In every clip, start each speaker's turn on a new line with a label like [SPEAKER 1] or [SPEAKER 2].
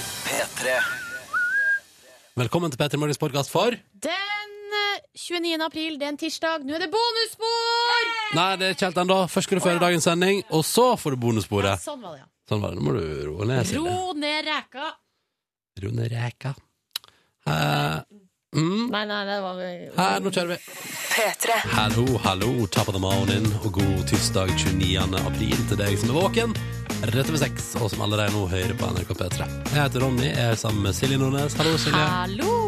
[SPEAKER 1] P3.
[SPEAKER 2] Velkommen til Petter Morgens podkast for
[SPEAKER 3] Den eh, 29. april, det er en tirsdag. Nå er det bonusspor!
[SPEAKER 2] Nei, det er ikke helt ennå. Først skal du føre dagens sending, og så får du bonussporet.
[SPEAKER 3] Sånn var det, ja.
[SPEAKER 2] Sånn var det. Nå må du roe ned, Silje.
[SPEAKER 3] Ro ned reka.
[SPEAKER 2] Ro ned reka. Eh, mm.
[SPEAKER 3] Nei, nei, det var
[SPEAKER 2] Her, nå kjører vi. Hallo, hallo, top of the morning, og god tirsdag 29. april til deg som er våken. Rett over seks, og som allerede nå hører på NRK P3. Jeg heter Ronny, jeg er sammen med Silje Nordnes. Hallo, Silje.
[SPEAKER 3] Hallo!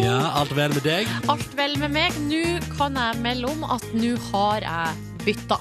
[SPEAKER 2] Ja, alt vel med deg?
[SPEAKER 3] Alt vel med meg. Nå kan jeg melde om at nå har jeg bytta.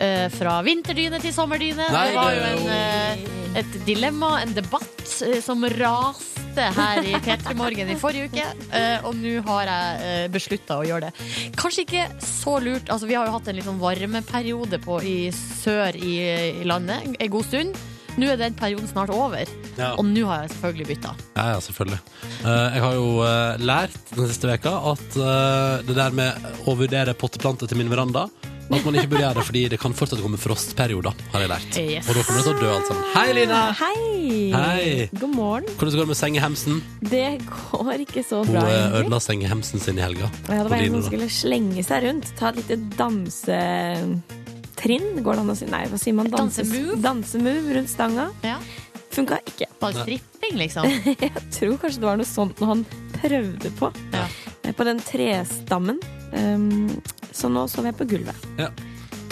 [SPEAKER 3] Eh, fra vinterdyne til sommerdyne.
[SPEAKER 2] Nei,
[SPEAKER 3] det var
[SPEAKER 2] det
[SPEAKER 3] jo
[SPEAKER 2] er
[SPEAKER 3] en, eh, et dilemma, en debatt, eh, som raste her i P3 Morgen i forrige uke. Eh, og nå har jeg uh, beslutta å gjøre det. Kanskje ikke så lurt. Altså, vi har jo hatt en litt sånn varmeperiode på, i sør i, i landet en god stund. Nå er den perioden snart over,
[SPEAKER 2] Ja.
[SPEAKER 3] og nå har jeg selvfølgelig bytta.
[SPEAKER 2] Ja, ja, selvfølgelig. Eh, jeg har jo eh, lært den siste veka at eh, det der med å vurdere potteplanter til min veranda At man ikke bør gjøre det fordi det kan fortsatt komme frostperioder, har jeg lært.
[SPEAKER 3] Yes.
[SPEAKER 2] Og da kommer det til å dø alt sammen. Hei, Lina!
[SPEAKER 4] Ah, Hei.
[SPEAKER 2] Hei.
[SPEAKER 4] God morgen.
[SPEAKER 2] Hvordan går det med sengehemsen?
[SPEAKER 4] Det går ikke så
[SPEAKER 2] Hun
[SPEAKER 4] bra,
[SPEAKER 2] eh,
[SPEAKER 4] egentlig.
[SPEAKER 2] ødela sengehemsen sin i helga.
[SPEAKER 4] Ja, det var
[SPEAKER 2] På
[SPEAKER 4] en
[SPEAKER 2] Lina,
[SPEAKER 4] som
[SPEAKER 2] da.
[SPEAKER 4] skulle slenge seg rundt. Ta et lite dansetrinn. Går det an å si Nei, hva sier man? Danses-
[SPEAKER 3] dansemove?
[SPEAKER 4] Dansemove rundt stanga.
[SPEAKER 3] Ja.
[SPEAKER 4] Funka ikke.
[SPEAKER 3] Bare stripping, liksom.
[SPEAKER 4] Jeg tror kanskje det var noe sånt når han prøvde på.
[SPEAKER 3] Ja.
[SPEAKER 4] Eh, På den trestammen. Um, så nå sover jeg på gulvet.
[SPEAKER 2] Ja.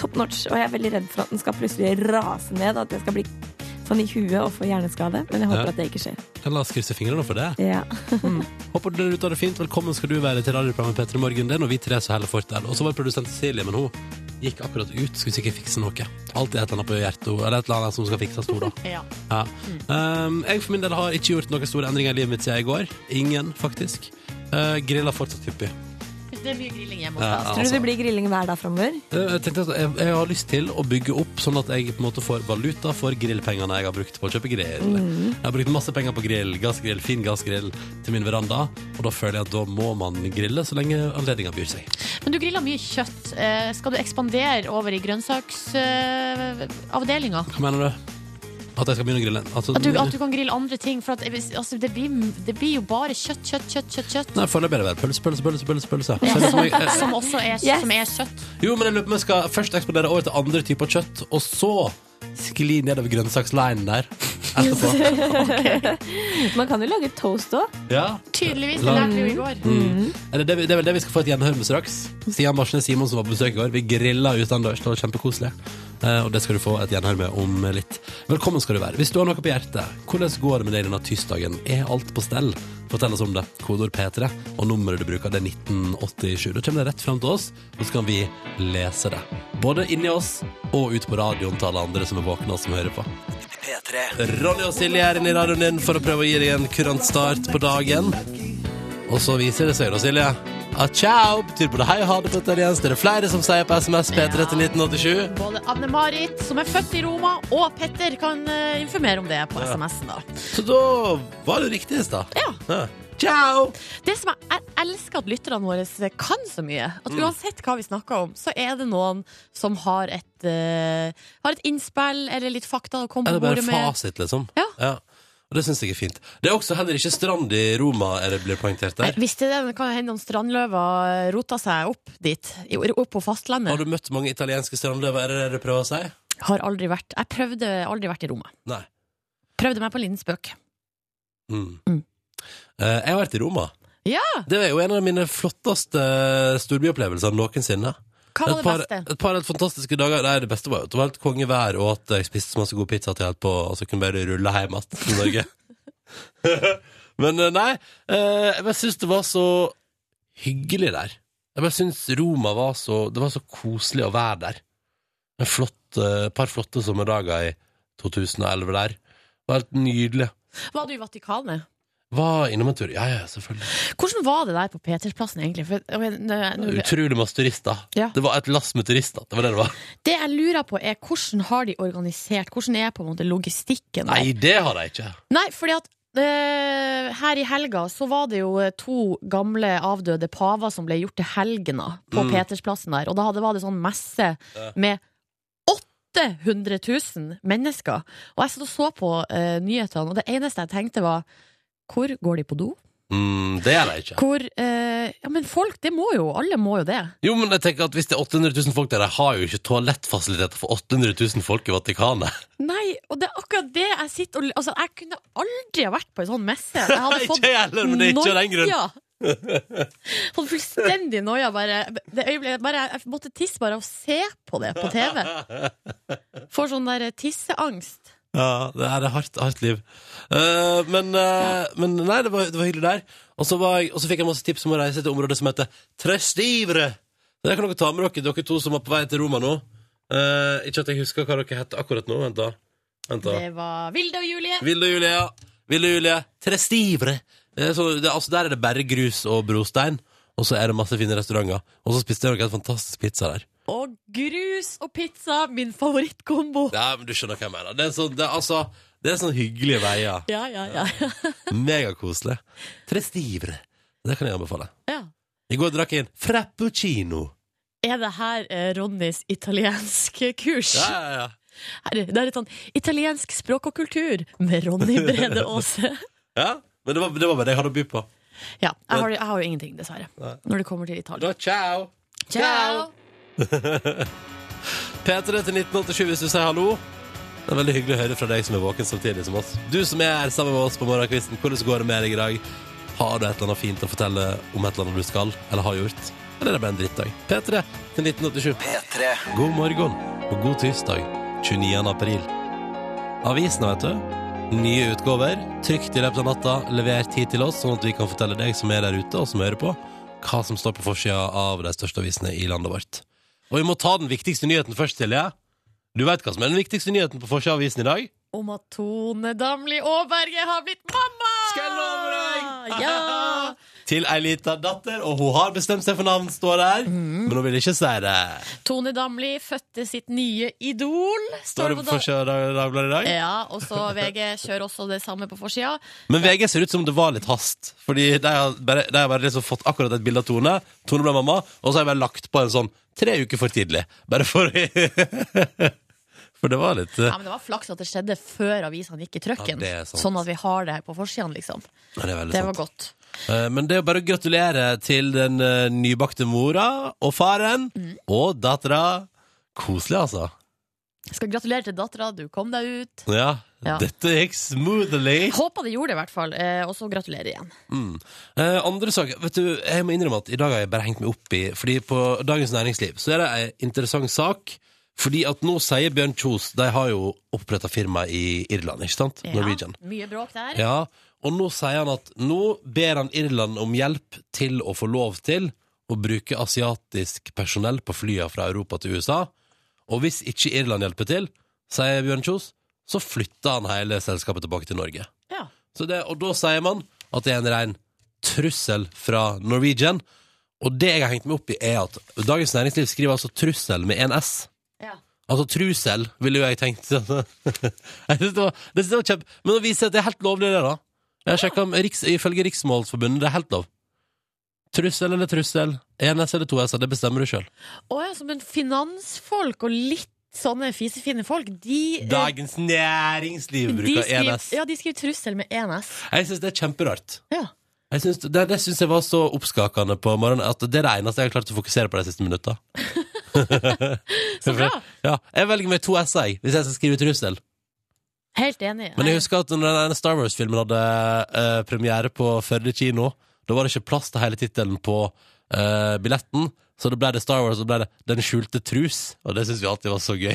[SPEAKER 4] Top notch. Og jeg er veldig redd for at den skal plutselig rase ned. At jeg skal bli sånn i huet og få hjerneskade. Men jeg håper
[SPEAKER 2] Ja.
[SPEAKER 4] at det ikke skjer.
[SPEAKER 2] Jeg la oss krysse fingrene for det.
[SPEAKER 4] Ja.
[SPEAKER 2] Håper dere ute har det fint. Velkommen skal du være til radioprogrammet Petter i morgen. Det er nå vi tre som holder fort der. Og så var produsent Silje, men hun gikk akkurat ut. Skulle sikkert fikse noe. Alltid et eller annet på hjertet, eller et eller annet som skal fikses nå, da.
[SPEAKER 3] Ja.
[SPEAKER 2] Ja. Um, jeg for min del har ikke gjort noen store endringer i livet mitt siden i går. Ingen, faktisk. Uh, griller fortsatt hyppig.
[SPEAKER 3] Det er mye grilling hjemme
[SPEAKER 2] Ja, altså.
[SPEAKER 3] hos oss.
[SPEAKER 4] Tror du det blir grilling hver dag framover?
[SPEAKER 2] Uh, Jeg, tenkte at jeg, jeg har lyst til å bygge opp sånn at jeg på en måte får valuta for grillpengene jeg har brukt på å kjøpe grill.
[SPEAKER 3] Mm.
[SPEAKER 2] Jeg har brukt masse penger på grill, gassgrill, fin gassgrill til min veranda, og da føler jeg at da må man grille så lenge anledninga byr seg.
[SPEAKER 3] Men du griller mye kjøtt. Eh, Skal du ekspandere over i grønnsaksavdelinga?
[SPEAKER 2] Hva mener du? At jeg skal begynne å grille? Altså,
[SPEAKER 3] At du, at du kan grille andre ting? For at, altså, det, blir, det blir jo bare kjøtt, kjøtt, kjøtt. kjøtt, kjøtt.
[SPEAKER 2] Nei, foreløpig er det bare pølse, pølse, pølse. pølse, pølse.
[SPEAKER 3] Ja,
[SPEAKER 2] Selv om
[SPEAKER 3] som,
[SPEAKER 2] jeg- jeg-
[SPEAKER 3] som også er,
[SPEAKER 4] Yes.
[SPEAKER 3] som er kjøtt.
[SPEAKER 2] Jo, men jeg lurer på om jeg skal først eksponere over til andre typer kjøtt, og så skli nedover grønnsakslinen der etterpå.
[SPEAKER 4] Man kan jo lage toast òg.
[SPEAKER 2] Ja.
[SPEAKER 3] Tydeligvis. Det
[SPEAKER 2] La-
[SPEAKER 3] lærte vi jo i går.
[SPEAKER 2] Er Det, det, det er vel det vi skal få et gjenhør med straks. Stian Barsnes Simon som var på besøk i går. Vi grilla utendørs. Det var kjempekoselig. Eh, og det skal du få et gjenhør med om litt. Velkommen skal du være. Hvis du har noe på hjertet, hvordan går det med deg denne tirsdagen? Er alt på stell? Fortell oss om det. Kodeord P3 og nummeret du bruker, det er 1987. Da kommer det rett fram til oss, og så kan vi lese det. Både inni oss og ut på radioen til alle andre som er våkne og som hører på.
[SPEAKER 1] P3.
[SPEAKER 2] Ronny og Silje er inne i radioen din for å prøve å gi deg en kurant start på dagen. Og så viser det seg, da, Silje, at ciao betyr både hei og ha det på italiensk. Det er flere som sier på SMS P3 til 1987.
[SPEAKER 3] Både Anne-Marit, som er født i Roma, og Petter kan eh, informere om det på SMS-en. da
[SPEAKER 2] Så da var det riktig i stad.
[SPEAKER 3] Ja.
[SPEAKER 2] Ciao!
[SPEAKER 3] Det som jeg, jeg elsker at lytterne våre kan så mye. At
[SPEAKER 2] Mm.
[SPEAKER 3] Uansett hva vi snakker om, så er det noen som har et, eh, har et innspill eller litt fakta å komme
[SPEAKER 2] Er det
[SPEAKER 3] på
[SPEAKER 2] bare
[SPEAKER 3] bordet med.
[SPEAKER 2] fasit, liksom?
[SPEAKER 3] Ja.
[SPEAKER 2] Og det syns jeg er fint. Det er også heller ikke strand i Roma, er det blir poengtert
[SPEAKER 3] Nei,
[SPEAKER 2] der.
[SPEAKER 3] Visste det, det kan hende noen strandløver roter seg opp dit. i- Opp på
[SPEAKER 2] Har
[SPEAKER 3] fastlandet.
[SPEAKER 2] du møtt mange italienske strandløver? Er det det du prøver å si?
[SPEAKER 3] Har aldri vært Jeg prøvde aldri vært i Roma.
[SPEAKER 2] Nei.
[SPEAKER 3] Prøvde meg på en liten spøk.
[SPEAKER 2] Mm.
[SPEAKER 3] Mm.
[SPEAKER 2] Eh, jeg har vært i Roma.
[SPEAKER 3] Ja!
[SPEAKER 2] Det er jo en av mine flotteste eh, storbyopplevelser noensinne.
[SPEAKER 3] Hva var
[SPEAKER 2] et
[SPEAKER 3] det
[SPEAKER 2] par,
[SPEAKER 3] beste?
[SPEAKER 2] Et par helt fantastiske dager. Nei, det beste var jo at det var helt kongevær, og at jeg spiste så masse god pizza til jeg helt på, og så kunne bare rulle hjem igjen til Norge. Men eh, nei, eh, jeg bare syns det var så hyggelig der. Jeg bare syns Roma var så Det var så koselig å være der. Et flott, eh, par flotte sommerdager i 2011 der. Det var helt nydelig.
[SPEAKER 3] Var du i Vatikanet?
[SPEAKER 2] Var innom en tur. Ja, ja, selvfølgelig.
[SPEAKER 3] Hvordan var det der på Petersplassen, egentlig? For, ok, nå- nå-
[SPEAKER 2] Utrolig masse turister.
[SPEAKER 3] Ja.
[SPEAKER 2] Det var et lass med turister. Det var det det var.
[SPEAKER 3] det jeg lurer på, er hvordan har de organisert? Hvordan er på en måte logistikken? der?
[SPEAKER 2] Nei, det har de ikke.
[SPEAKER 3] Nei, fordi at eh, her i helga så var det jo eh, to gamle avdøde paver som ble gjort til helgener på
[SPEAKER 2] Mm.
[SPEAKER 3] Petersplassen der. Og da hadde, var det sånn messe
[SPEAKER 2] Ja.
[SPEAKER 3] med 800 000 mennesker. Og jeg satt og så på eh, nyhetene, og det eneste jeg tenkte var Hvor går de på do?
[SPEAKER 2] Mm, det er det ikke.
[SPEAKER 3] Hvor eh, Ja, men folk, det må jo. Alle må jo det.
[SPEAKER 2] Jo, men jeg tenker at Hvis det er 800 000 folk der, de har jo ikke toalettfasiliteter for 800 000 folk i Vatikanet.
[SPEAKER 3] Nei, og det er akkurat det jeg sitter og Altså, jeg kunne aldri ha vært på en sånn messe. Jeg hadde
[SPEAKER 2] Ikke
[SPEAKER 3] fått
[SPEAKER 2] jeg heller, men det er ikke av den grunn.
[SPEAKER 3] noia. Fått fullstendig noia bare det øyeblikket bare, Jeg måtte tisse bare av å se på det på TV. Får sånn der tisseangst.
[SPEAKER 2] Ja, det er et hardt, hardt liv. Eh, men, eh, men nei, det var, det var hyggelig der. Og så, var jeg, og så fikk jeg masse tips om å reise til området som heter Trestivre. Det kan dere ta med dere, dere to som er på vei til Roma nå. Eh, ikke at jeg husker hva dere heter akkurat nå. Vent, da. Vent da.
[SPEAKER 3] Det var Vilde og Julie.
[SPEAKER 2] Vilde og Julia. Vilde og Julia. Trestivre. Det er så, det, altså, der er det bare grus og brostein, og så er det masse fine restauranter. Og så spiste jeg noe helt fantastisk pizza der.
[SPEAKER 3] Og grus og pizza, min favorittkombo.
[SPEAKER 2] Ja, men Du skjønner hva jeg mener. Det er, sånn- det er, altså, det er sånn hyggelige veier.
[SPEAKER 3] Ja, ja, ja.
[SPEAKER 2] Megakoselig. Trestivre. Det kan jeg anbefale.
[SPEAKER 3] ja.
[SPEAKER 2] I går drakk jeg en frappuccino.
[SPEAKER 3] Er det her eh, Ronnys italienske kurs?
[SPEAKER 2] Ja, ja, ja.
[SPEAKER 3] Her, det er et sånn italiensk språk og kultur med Ronny Brede Aase.
[SPEAKER 2] ja? Men det var, det var bare det jeg hadde å by på.
[SPEAKER 3] Ja, jeg har, jeg har jo ingenting, dessverre, når det kommer til Italia.
[SPEAKER 2] Da ciao!
[SPEAKER 3] Ciao!
[SPEAKER 2] P3 til 1987 hvis du sier hallo. Det er veldig hyggelig å høre fra deg som er våken samtidig som oss. Du som er her sammen med oss på morgenkvisten, hvordan går det med deg i dag? Har du et eller annet fint å fortelle om et eller annet du skal, eller har gjort? Eller er det bare en drittdag? P3 til 1987. God morgen og god tirsdag 29. april. Avisene, vet du. Nye utgaver, trygt i løpet av natta, levert hit til oss, sånn at vi kan fortelle deg som er der ute og som hører på, hva som står på forsida av de største avisene i landet vårt. Og vi må ta den viktigste nyheten først, Silje. Du veit hva som er den viktigste nyheten på forsida av avisen i dag?
[SPEAKER 3] Om at Tone Damli Aaberge har blitt mamma!
[SPEAKER 2] Skal jeg love deg!
[SPEAKER 3] Ah, Ja!
[SPEAKER 2] Til ei lita datter, og hun har bestemt seg for navn, står der.
[SPEAKER 3] Mhm.
[SPEAKER 2] Men hun vil ikke si det.
[SPEAKER 3] Tone Damli fødte sitt nye idol,
[SPEAKER 2] Står det
[SPEAKER 3] står det
[SPEAKER 2] på
[SPEAKER 3] da.
[SPEAKER 2] forsida av Dag- Dagbladet i dag?
[SPEAKER 3] Ja, og så VG kjører også det samme på forsida.
[SPEAKER 2] Men VG ser ut som det var litt hast. Fordi de har bare, de har bare liksom fått akkurat et bilde av Tone. Tone ble mamma, og så har jeg bare lagt på en sånn tre uker for tidlig. Bare for For det var litt eh,
[SPEAKER 3] Ja, men det var flaks at det skjedde før avisene gikk i
[SPEAKER 2] Ja,
[SPEAKER 3] trøkken.
[SPEAKER 2] det er sant.
[SPEAKER 3] sånn at vi har det her på forsida, liksom.
[SPEAKER 2] Nei, det sånn. er veldig
[SPEAKER 3] Det var
[SPEAKER 2] sant.
[SPEAKER 3] godt.
[SPEAKER 2] Eh, Men det er bare å gratulere til den eh, nybakte mora og faren
[SPEAKER 3] Mm.
[SPEAKER 2] og dattera. Koselig, altså.
[SPEAKER 3] Jeg skal gratulere til dattera, du kom deg ut.
[SPEAKER 2] Ja.
[SPEAKER 3] Ja.
[SPEAKER 2] Dette gikk smoothly.
[SPEAKER 3] Håper det gjorde det, i hvert fall. Eh, og så gratulerer igjen.
[SPEAKER 2] Mm. Eh, andre saker, vet du, jeg må innrømme at i dag har jeg bare hengt meg opp i Fordi på Dagens Næringsliv så er det en interessant sak Fordi at nå sier Bjørn Kjos De har jo opprettet firma i Irland, ikke sant? Norwegian
[SPEAKER 3] Ja, mye bråk der.
[SPEAKER 2] ja, og nå sier han at nå ber han Irland om hjelp til å få lov til å bruke asiatisk personell på flyene fra Europa til USA. Og hvis ikke Irland hjelper til, sier Bjørn Kjos, så flytter han hele selskapet tilbake til Norge.
[SPEAKER 3] Ja.
[SPEAKER 2] Så det, og da sier man at det er en rein trussel fra Norwegian. Og det jeg har hengt meg opp i, er at Dagens Næringsliv skriver altså 'trussel' med en S.
[SPEAKER 3] Ja.
[SPEAKER 2] Altså trusel, ville jo jeg tenkt. jeg synes det var, det synes jeg var kjempe... Men å vise at det er helt lovlig, det, da. Jeg har sjekket om Riks, Ifølge Riksmålsforbundet, det er helt lov. Trussel eller trussel, én S eller to S, det bestemmer du sjøl.
[SPEAKER 3] Å ja, så men finansfolk og litt sånne fisefine folk, de eh,
[SPEAKER 2] Dagens Næringsliv
[SPEAKER 3] de
[SPEAKER 2] bruker én
[SPEAKER 3] skriver,
[SPEAKER 2] S.
[SPEAKER 3] ja, de skriver trussel med én S.
[SPEAKER 2] Jeg syns det er kjemperart.
[SPEAKER 3] Ja.
[SPEAKER 2] Jeg synes, det det syns jeg var så oppskakende på morgenen at det er det eneste jeg har klart å fokusere på de siste minutta.
[SPEAKER 3] Så bra!
[SPEAKER 2] Ja, jeg velger meg to S-er, jeg, hvis jeg skal skrive trussel.
[SPEAKER 3] Helt enig.
[SPEAKER 2] Men jeg husker at når den ene Star Wars-filmen hadde eh, premiere på Førde kino, da var det ikke plass til hele tittelen på eh, billetten, så da ble det Star Wars, og ble det Den skjulte trus, og det syns vi alltid var så gøy.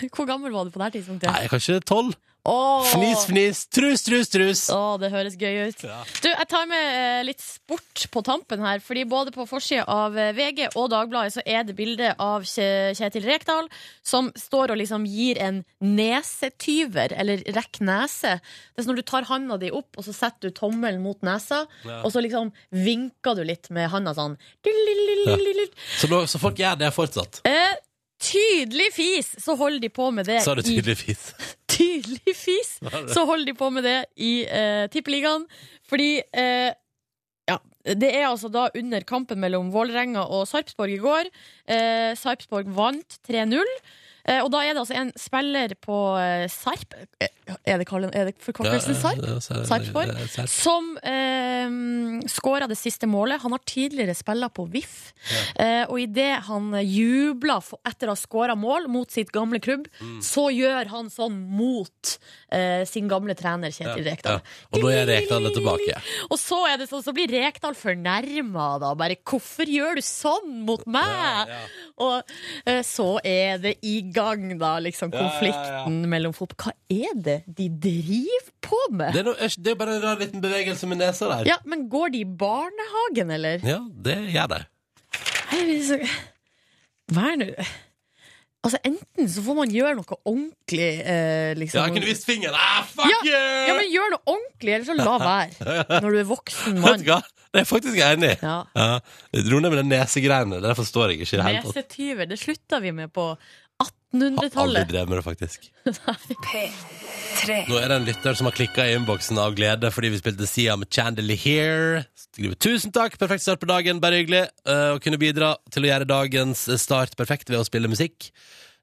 [SPEAKER 3] Nei, Hvor gammel var du på det her tidspunktet?
[SPEAKER 2] Nei, kanskje tolv?
[SPEAKER 3] Åh!
[SPEAKER 2] Fnis, fnis, trus, trus, trus!
[SPEAKER 3] Å, det høres gøy ut.
[SPEAKER 2] Ja.
[SPEAKER 3] Du, Jeg tar med eh, litt sport på tampen her. Fordi Både på forsida av eh, VG og Dagbladet så er det bilde av Kje- Kjetil Rekdal som står og liksom gir en nesetyver, eller rekk nese. Det er sånn når du tar handa di opp, og så setter du tommelen mot nesa,
[SPEAKER 2] Ja.
[SPEAKER 3] og så liksom vinker du litt med handa sånn. Dilililililil.
[SPEAKER 2] Så, nå, så folk gjør det fortsatt.
[SPEAKER 3] Eh, tydelig fis, så holder de på med det.
[SPEAKER 2] Så er det
[SPEAKER 3] i-
[SPEAKER 2] tydeligvis.
[SPEAKER 3] tydelig fis, så holder de på med det i eh, Tippeligaen. Fordi eh, ja, det er altså da under kampen mellom Vålerenga og Sarpsborg i går. Eh, Sarpsborg vant 3-0. Eh, og da er det altså en spiller på eh, Sarp Eh, Er det, kallen- er det forkortelsen Sarp?
[SPEAKER 2] Ja, ja, Sarp-
[SPEAKER 3] Sarpsborg?
[SPEAKER 2] eh, Sarp.
[SPEAKER 3] Som eh, skåra det siste målet. Han har tidligere spilla på VIF. Eh, og idet han jubla for- etter å ha skåra mål mot sitt gamle klubb,
[SPEAKER 2] Mm.
[SPEAKER 3] så gjør han sånn mot eh, sin gamle trener, Kjetil
[SPEAKER 2] Ja.
[SPEAKER 3] Rekdal.
[SPEAKER 2] Og da er Rekdal tilbake.
[SPEAKER 3] Og så, er det sånn, så blir Rekdal fornærma, da. Bare 'hvorfor gjør du sånn mot meg?'
[SPEAKER 2] ja.
[SPEAKER 3] Og eh, så er det i gang, da, liksom,
[SPEAKER 2] Ja, ja, ja,
[SPEAKER 3] konflikten
[SPEAKER 2] ja.
[SPEAKER 3] mellom fotball. Hva er det de driver på med?
[SPEAKER 2] Det er, noe, det er bare en rar liten bevegelse med nesa der.
[SPEAKER 3] Ja, men går de i barnehagen, eller?
[SPEAKER 2] Ja, det gjør de.
[SPEAKER 3] Nei, men så- Vær nå Altså, enten så får man gjøre noe ordentlig, eh, liksom.
[SPEAKER 2] Ja, jeg kunne vist fingeren. Ah, fuck
[SPEAKER 3] Ja,
[SPEAKER 2] you!
[SPEAKER 3] Ja, men gjør noe ordentlig, eller så la være. Når du er voksen
[SPEAKER 2] Vet
[SPEAKER 3] mann.
[SPEAKER 2] du hva? Det er jeg faktisk enig i.
[SPEAKER 3] Ja.
[SPEAKER 2] Ja. Ro ned med den nesegreiene. Det forstår jeg ikke i det hele tatt.
[SPEAKER 3] Nesetyver, E det slutta vi med på
[SPEAKER 2] Har aldri
[SPEAKER 3] 1800-tallet.
[SPEAKER 2] drevet med det, faktisk. Nå er det en lytter som har klikka i innboksen av glede fordi vi spilte Sia med Chandelier. Skriver 'Tusen takk, perfekt start på dagen, bare hyggelig'. eh, Å kunne bidra til å gjøre dagens start perfekt ved å spille musikk.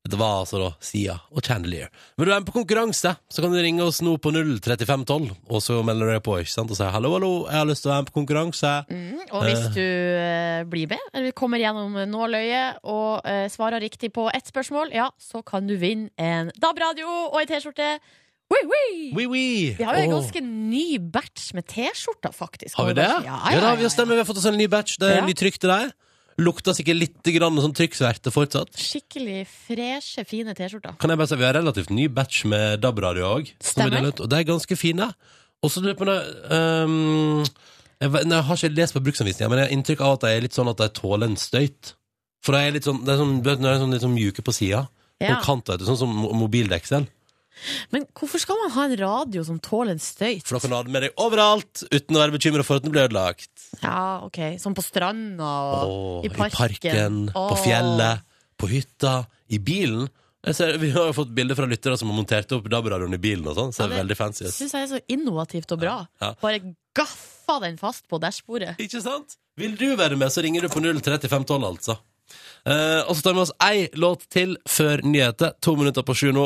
[SPEAKER 2] Det var altså da Sia og Chandelier. Vil du være med på konkurranse, så kan du ringe oss nå på 03512, og så melder du deg på ikke sant? og sier 'hallo, hallo, jeg har lyst til å være med på konkurranse'.
[SPEAKER 3] Mm, og hvis du eh, blir med, eller kommer gjennom nåløyet og eh, svarer riktig på ett spørsmål, ja, så kan du vinne en DAB-radio og ei T-skjorte. Oi, oi!
[SPEAKER 2] Oui, oui.
[SPEAKER 3] Vi har jo en
[SPEAKER 2] Åh.
[SPEAKER 3] ganske ny batch med T-skjorter, faktisk.
[SPEAKER 2] Har vi det?
[SPEAKER 3] Ja, ja, ja,
[SPEAKER 2] da,
[SPEAKER 3] ja,
[SPEAKER 2] vi, har stemmer, vi har fått oss en ny batch. Det er
[SPEAKER 3] Ja.
[SPEAKER 2] ny trykk til deg. Lukter sikkert litt grann sånn trykksverte fortsatt.
[SPEAKER 3] Skikkelig freshe, fine T-skjorter.
[SPEAKER 2] Kan jeg bare si, Vi har relativt ny batch med DAB-radio òg.
[SPEAKER 3] Stemmer.
[SPEAKER 2] Og de er ganske fine. Og så lurer jeg på noe, ehm, jeg, vet- nei, jeg har ikke lest på bruksanvisninga, men jeg har inntrykk av at de er litt sånn at de tåler en støyt. For de er litt sånn, de er sånn, du vet, de er sånn, litt sånn mjuke på sida.
[SPEAKER 3] Ja.
[SPEAKER 2] Sånn som mo- mobildeksel.
[SPEAKER 3] Men hvorfor skal man ha en radio som tåler en støyt?
[SPEAKER 2] For da kan du ha den med deg overalt uten å være bekymra for at den blir ødelagt.
[SPEAKER 3] Ja, ok, Sånn på stranda
[SPEAKER 2] Åh,
[SPEAKER 3] og i parken.
[SPEAKER 2] på
[SPEAKER 3] Åh.
[SPEAKER 2] fjellet, på hytta, i bilen. Jeg ser, vi har jo fått bilder fra lyttere som har montert opp DAB-radioen i bilen. og sånn, så
[SPEAKER 3] Ja,
[SPEAKER 2] det er veldig fancy. ut.
[SPEAKER 3] Syns jeg er så innovativt og bra.
[SPEAKER 2] Ja.
[SPEAKER 3] Bare gaffa den fast på dashbordet.
[SPEAKER 2] Ikke sant? Vil du være med, så ringer du på 03512, altså. Eh, og så tar vi oss ei låt til før nyheter. To minutter på sju nå.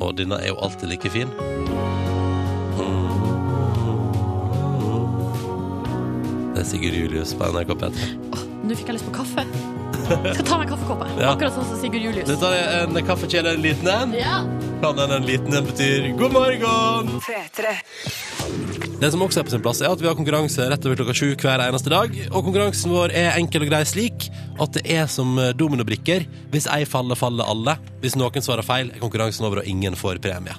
[SPEAKER 2] Og denne er jo alltid like fin. Det er Sigurd Julius på NRK P3.
[SPEAKER 3] Nå fikk jeg lyst på kaffe. Jeg skal ta meg en kaffekopp. jeg.
[SPEAKER 2] Ja.
[SPEAKER 3] Akkurat sånn som Sigurd Julius.
[SPEAKER 2] Dette er en kaffekjele, en liten en.
[SPEAKER 3] Ja.
[SPEAKER 2] Kan den en liten en betyr god morgen! Det som også er på sin plass, er at vi har konkurranse rett over klokka sju hver eneste dag. Og konkurransen vår er enkel og grei slik at det er som eh, dominobrikker. Hvis ei faller, faller alle. Hvis noen svarer feil, er konkurransen over, og ingen får premie.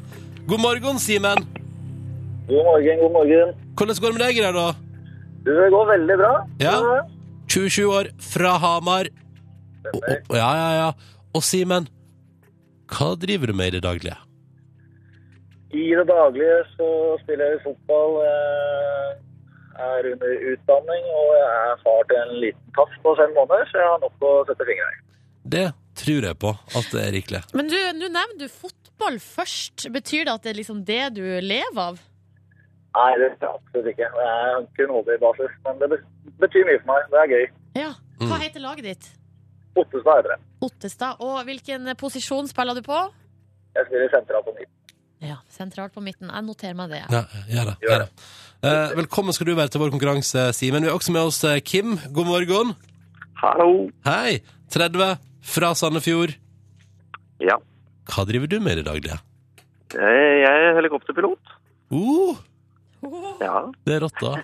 [SPEAKER 2] God morgen, Simen!
[SPEAKER 1] God morgen, god morgen.
[SPEAKER 2] Hvordan går det med deg i dag, da?
[SPEAKER 1] Du, det går veldig bra.
[SPEAKER 2] Ja. 27 år, fra Hamar. Og, og, ja, ja, ja. Og Simen, hva driver du med i det daglige?
[SPEAKER 1] I det daglige så spiller jeg fotball, eh, er under utdanning, og jeg er far til en liten tass på fem måneder, så jeg har nok å sette fingeren i.
[SPEAKER 2] Det tror jeg på at det er rikelig.
[SPEAKER 3] Men du, nå nevner du fotball først. Betyr det at det er liksom det du lever av?
[SPEAKER 1] Nei, det er absolutt ikke. Jeg er kun hobbybasis, men det be- betyr mye for meg. Det er gøy.
[SPEAKER 3] Ja. Hva heter laget ditt?
[SPEAKER 1] Ottestad er det.
[SPEAKER 3] Ottestad. Og hvilken posisjon spiller du på?
[SPEAKER 1] Jeg spiller sentra på nytt.
[SPEAKER 3] Ja, sentralt på midten. Jeg noterer meg det.
[SPEAKER 2] Ja, gjør det. Gjør det. Eh, velkommen skal du være til vår konkurranse, Simen. Vi har også med oss eh, Kim. God morgen.
[SPEAKER 5] Hallo.
[SPEAKER 2] Hei. 30 fra Sandefjord.
[SPEAKER 5] Ja.
[SPEAKER 2] Hva driver du med i det daglige?
[SPEAKER 5] Eh, Jeg er helikopterpilot.
[SPEAKER 2] Uh,
[SPEAKER 5] Ja.
[SPEAKER 2] det er rått, da.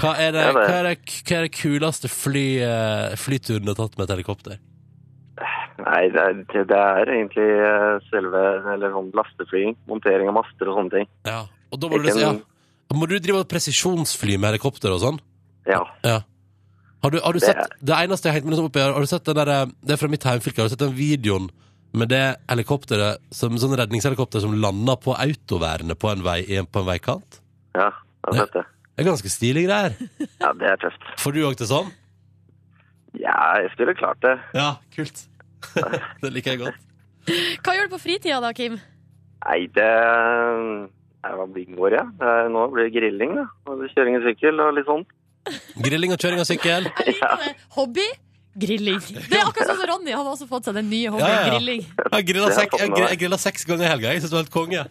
[SPEAKER 2] Hva er det,
[SPEAKER 5] Ja, det
[SPEAKER 2] hva
[SPEAKER 5] er.
[SPEAKER 2] er det, hva er det kuleste fly, eh, flyturen du har tatt med et helikopter?
[SPEAKER 5] Nei, det er, det- det er egentlig eh, selve eller sånn lasteflying. Montering av master og sånne ting.
[SPEAKER 2] Ja, og da må du,
[SPEAKER 5] Ikke
[SPEAKER 2] liksom- ja.
[SPEAKER 5] noe.
[SPEAKER 2] må du drive et presisjonsfly med helikopter og sånn?
[SPEAKER 5] Ja.
[SPEAKER 2] Ja. Har du, har du
[SPEAKER 5] Det
[SPEAKER 2] sett
[SPEAKER 5] er-
[SPEAKER 2] det, eneste jeg helt minnes om oppi her, har du sett den der, eh, det er fra mitt heimfylke, har du sett den videoen med det helikopteret, som, sånn redningshelikopter som lander på autoværene på en, vei, i en- på en veikant?
[SPEAKER 5] Ja, jeg har sett det.
[SPEAKER 2] Det er ganske stilige greier.
[SPEAKER 5] Ja, det er tøft.
[SPEAKER 2] Får du òg til sånn?
[SPEAKER 5] Ja, jeg skulle klart det.
[SPEAKER 2] Ja, kult. det liker jeg godt.
[SPEAKER 3] Hva gjør du på fritida da, Kim?
[SPEAKER 5] Nei, det Nei, Hva blir det går, ja? Det er- Nå blir det grilling, da. Og Kjøring i sykkel og litt sånn.
[SPEAKER 2] Grilling og kjøring av sykkel.
[SPEAKER 3] Jeg liker det. Hobby, Grilling. Det er akkurat sånn som Ronny. Han har også fått seg den nye hobbyen.
[SPEAKER 2] Ja, ja, ja.
[SPEAKER 3] Grilling.
[SPEAKER 2] Jeg grilla,
[SPEAKER 5] Det har jeg
[SPEAKER 2] sek,
[SPEAKER 5] fått
[SPEAKER 2] jeg,
[SPEAKER 5] med meg.
[SPEAKER 2] gri- jeg grilla seks ganger i helga. Jeg synes det var helt konge.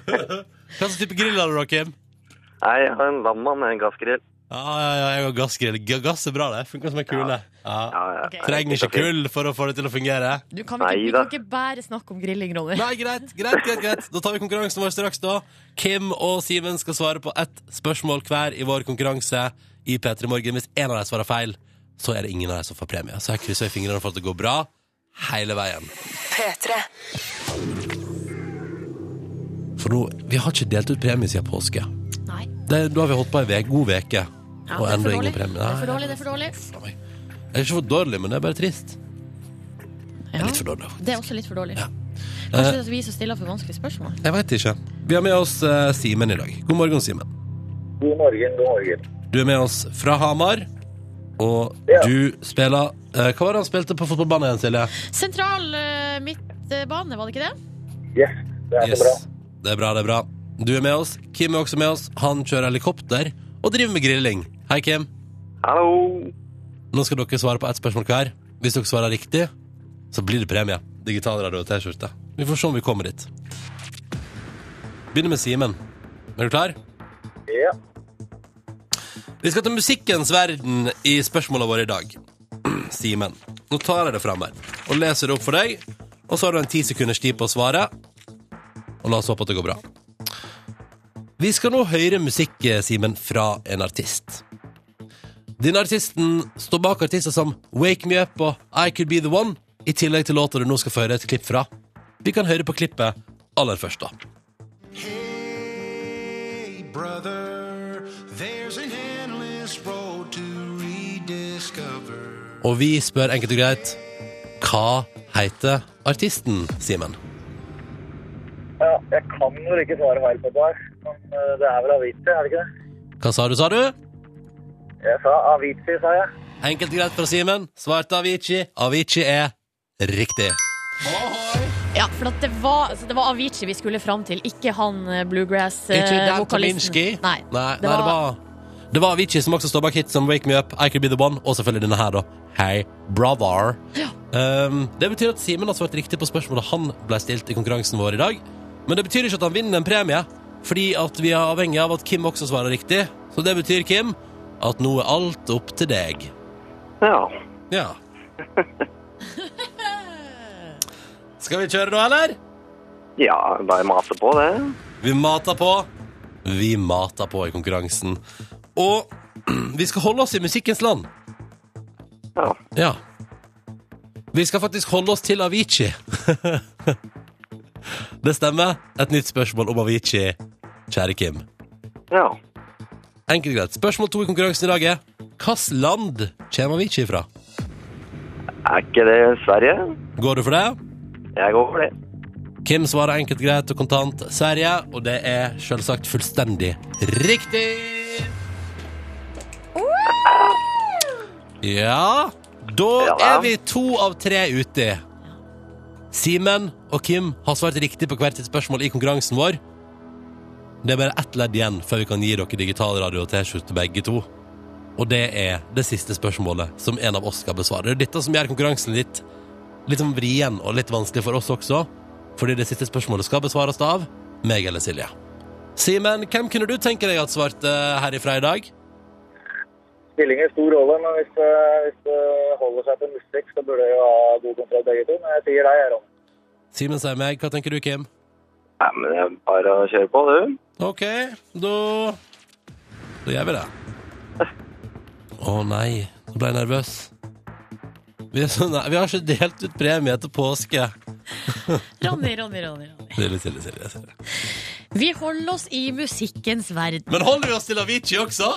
[SPEAKER 2] Hva slags type grill har du, da, Kim?
[SPEAKER 5] Nei, jeg har en lamma med en gassgrill.
[SPEAKER 2] Ja, ja, ja, jeg har gassgrill. G- Gass er bra, det. Funker som en kule. Ja.
[SPEAKER 5] Ja, ja.
[SPEAKER 3] Ok.
[SPEAKER 2] Trenger ikke kull for å få det til å fungere.
[SPEAKER 3] Du kan ikke, vi
[SPEAKER 5] Neida.
[SPEAKER 3] kan ikke bare snakke om grilling, Ronny.
[SPEAKER 2] Nei, greit, greit, greit, greit. Da tar vi konkurransen vår straks, da. Kim og Simen skal svare på ett spørsmål hver i vår konkurranse i P3 Morgen. Hvis én av dem svarer feil, så er det ingen av dem som får premie. Så jeg krysser fingrene for at det går bra hele veien. For nå, vi har ikke delt ut premie siden påske.
[SPEAKER 3] Nei.
[SPEAKER 2] Det, da har vi holdt på en ve- god veke
[SPEAKER 3] Ja,
[SPEAKER 2] og
[SPEAKER 3] det er for
[SPEAKER 2] enda
[SPEAKER 3] dårlig.
[SPEAKER 2] ingen premie.
[SPEAKER 3] Det er for
[SPEAKER 2] Nei,
[SPEAKER 3] dårlig. Det er for dårlig.
[SPEAKER 2] faen meg. Det er ikke for dårlig, men det er bare trist. Det er
[SPEAKER 3] Ja.
[SPEAKER 2] litt for dårlig.
[SPEAKER 3] Det er også litt for dårlig.
[SPEAKER 2] Ja. Eh.
[SPEAKER 3] Kanskje det er vi som stiller for vanskelige spørsmål.
[SPEAKER 2] Jeg veit ikke. Vi har med oss eh, Simen i dag. God morgen, Simen.
[SPEAKER 1] God morgen, god morgen.
[SPEAKER 2] Du er med oss fra Hamar, og
[SPEAKER 1] Ja.
[SPEAKER 2] du spiller eh, Hva var det han spilte på fotballbanen igjen, Silje?
[SPEAKER 3] Sentral eh, midtbane, var det ikke det?
[SPEAKER 1] Yes, det er så bra.
[SPEAKER 2] Det er bra, det er bra. Du er med oss. Kim er også med oss. Han kjører helikopter og driver med grilling. Hei, Kim.
[SPEAKER 5] Hallo!
[SPEAKER 2] Nå skal dere svare på ett spørsmål hver. Hvis dere svarer riktig, så blir det premie. Digitalradio og T-skjorte. Vi får se om vi kommer dit. Begynner med Simen. Er du klar?
[SPEAKER 1] Ja.
[SPEAKER 2] Vi skal til musikkens verden i spørsmåla våre i dag. Simen, nå tar jeg det fram her og leser det opp for deg. Og så har du en ti sekunders tid på å svare. Og la oss håpe at det går bra. Vi skal nå høre musikk, Simen, fra en artist. Denne artisten står bak artister som Wake Me Up og I Could Be The One, i tillegg til låter du nå skal få høre et klipp fra. Vi kan høre på klippet aller først, da.
[SPEAKER 6] Hey, brother, there's an endless road to rediscover.
[SPEAKER 2] Og vi spør enkelt og greit Hva heter artisten, Simen?
[SPEAKER 1] ja, jeg kan vel ikke svare feil på det her, men eh, det er vel Avicii, er det ikke det?
[SPEAKER 2] Hva sa du, sa du?
[SPEAKER 1] Jeg sa Avicii, sa jeg.
[SPEAKER 2] Enkelt og greit fra Simen. Svarte Avicii. Avicii er riktig.
[SPEAKER 3] Ja, for at det, var, altså, det var Avicii vi skulle fram til, ikke han eh,
[SPEAKER 2] Ikke Dan Tominski.
[SPEAKER 3] bluegrass-vokalisten. Nei.
[SPEAKER 2] Nei, nei, det var det var Avicii som også står bak hit som Wake Me Up, I Could Be The One, og selvfølgelig denne her, da. Hey, brother. Um, det betyr at Simen har svart riktig på spørsmålet han ble stilt i konkurransen vår i dag. Men det betyr ikke at han vinner en premie, fordi at vi er avhengig av at Kim også svarer riktig. Så det betyr, Kim, at nå er alt opp til deg.
[SPEAKER 5] Ja.
[SPEAKER 2] Ja. Skal vi kjøre nå, eller?
[SPEAKER 5] Ja, bare mase på det.
[SPEAKER 2] Vi mater på. Vi mater på i konkurransen. Og vi skal holde oss i musikkens land.
[SPEAKER 5] Ja.
[SPEAKER 2] Ja. Vi skal faktisk holde oss til Avicii. Det stemmer. Et nytt spørsmål om Avicii, kjære Kim.
[SPEAKER 5] Ja.
[SPEAKER 2] Enkelt og greit. Spørsmål to i konkurransen i dag er hvilket land kommer Avicii fra?
[SPEAKER 5] Er ikke det Sverige?
[SPEAKER 2] Går du for det?
[SPEAKER 5] Jeg går for det.
[SPEAKER 2] Kim svarer enkelt, greit og kontant Sverige, og det er selvsagt fullstendig riktig. Ja, da
[SPEAKER 5] Ja da.
[SPEAKER 2] er vi to av tre ute. Simen og Kim har svart riktig på hvert sitt spørsmål i konkurransen vår. Det er bare ett ledd igjen før vi kan gi dere digital radio og T-skjorte begge to. Og det er det siste spørsmålet som en av oss skal besvare. Det er dette som gjør konkurransen litt, litt sånn vrien og litt vanskelig for oss også. Fordi det siste spørsmålet skal besvares av meg eller Silje. Simen, hvem kunne du tenke deg at svarte herifra i dag?
[SPEAKER 1] Spiller ingen stor rolle, men hvis, eh, hvis det holder seg til musikk, så burde jeg jo ha god kontroll begge to. Men jeg sier deg, Ron.
[SPEAKER 2] Simen sier meg. Hva tenker du, Kim?
[SPEAKER 5] Nei, men det er bare å kjøre på, du.
[SPEAKER 2] OK, da Da gjør vi det. Å nei, nå ble jeg nervøs. Vi, er så nær- vi har ikke delt ut premie etter påske.
[SPEAKER 3] Ronny, Ronny, Ronny, Ronny.
[SPEAKER 2] Silje, Silje, Silje, Silje.
[SPEAKER 3] Vi holder oss i musikkens verden.
[SPEAKER 2] Men holder vi oss til Avicii også?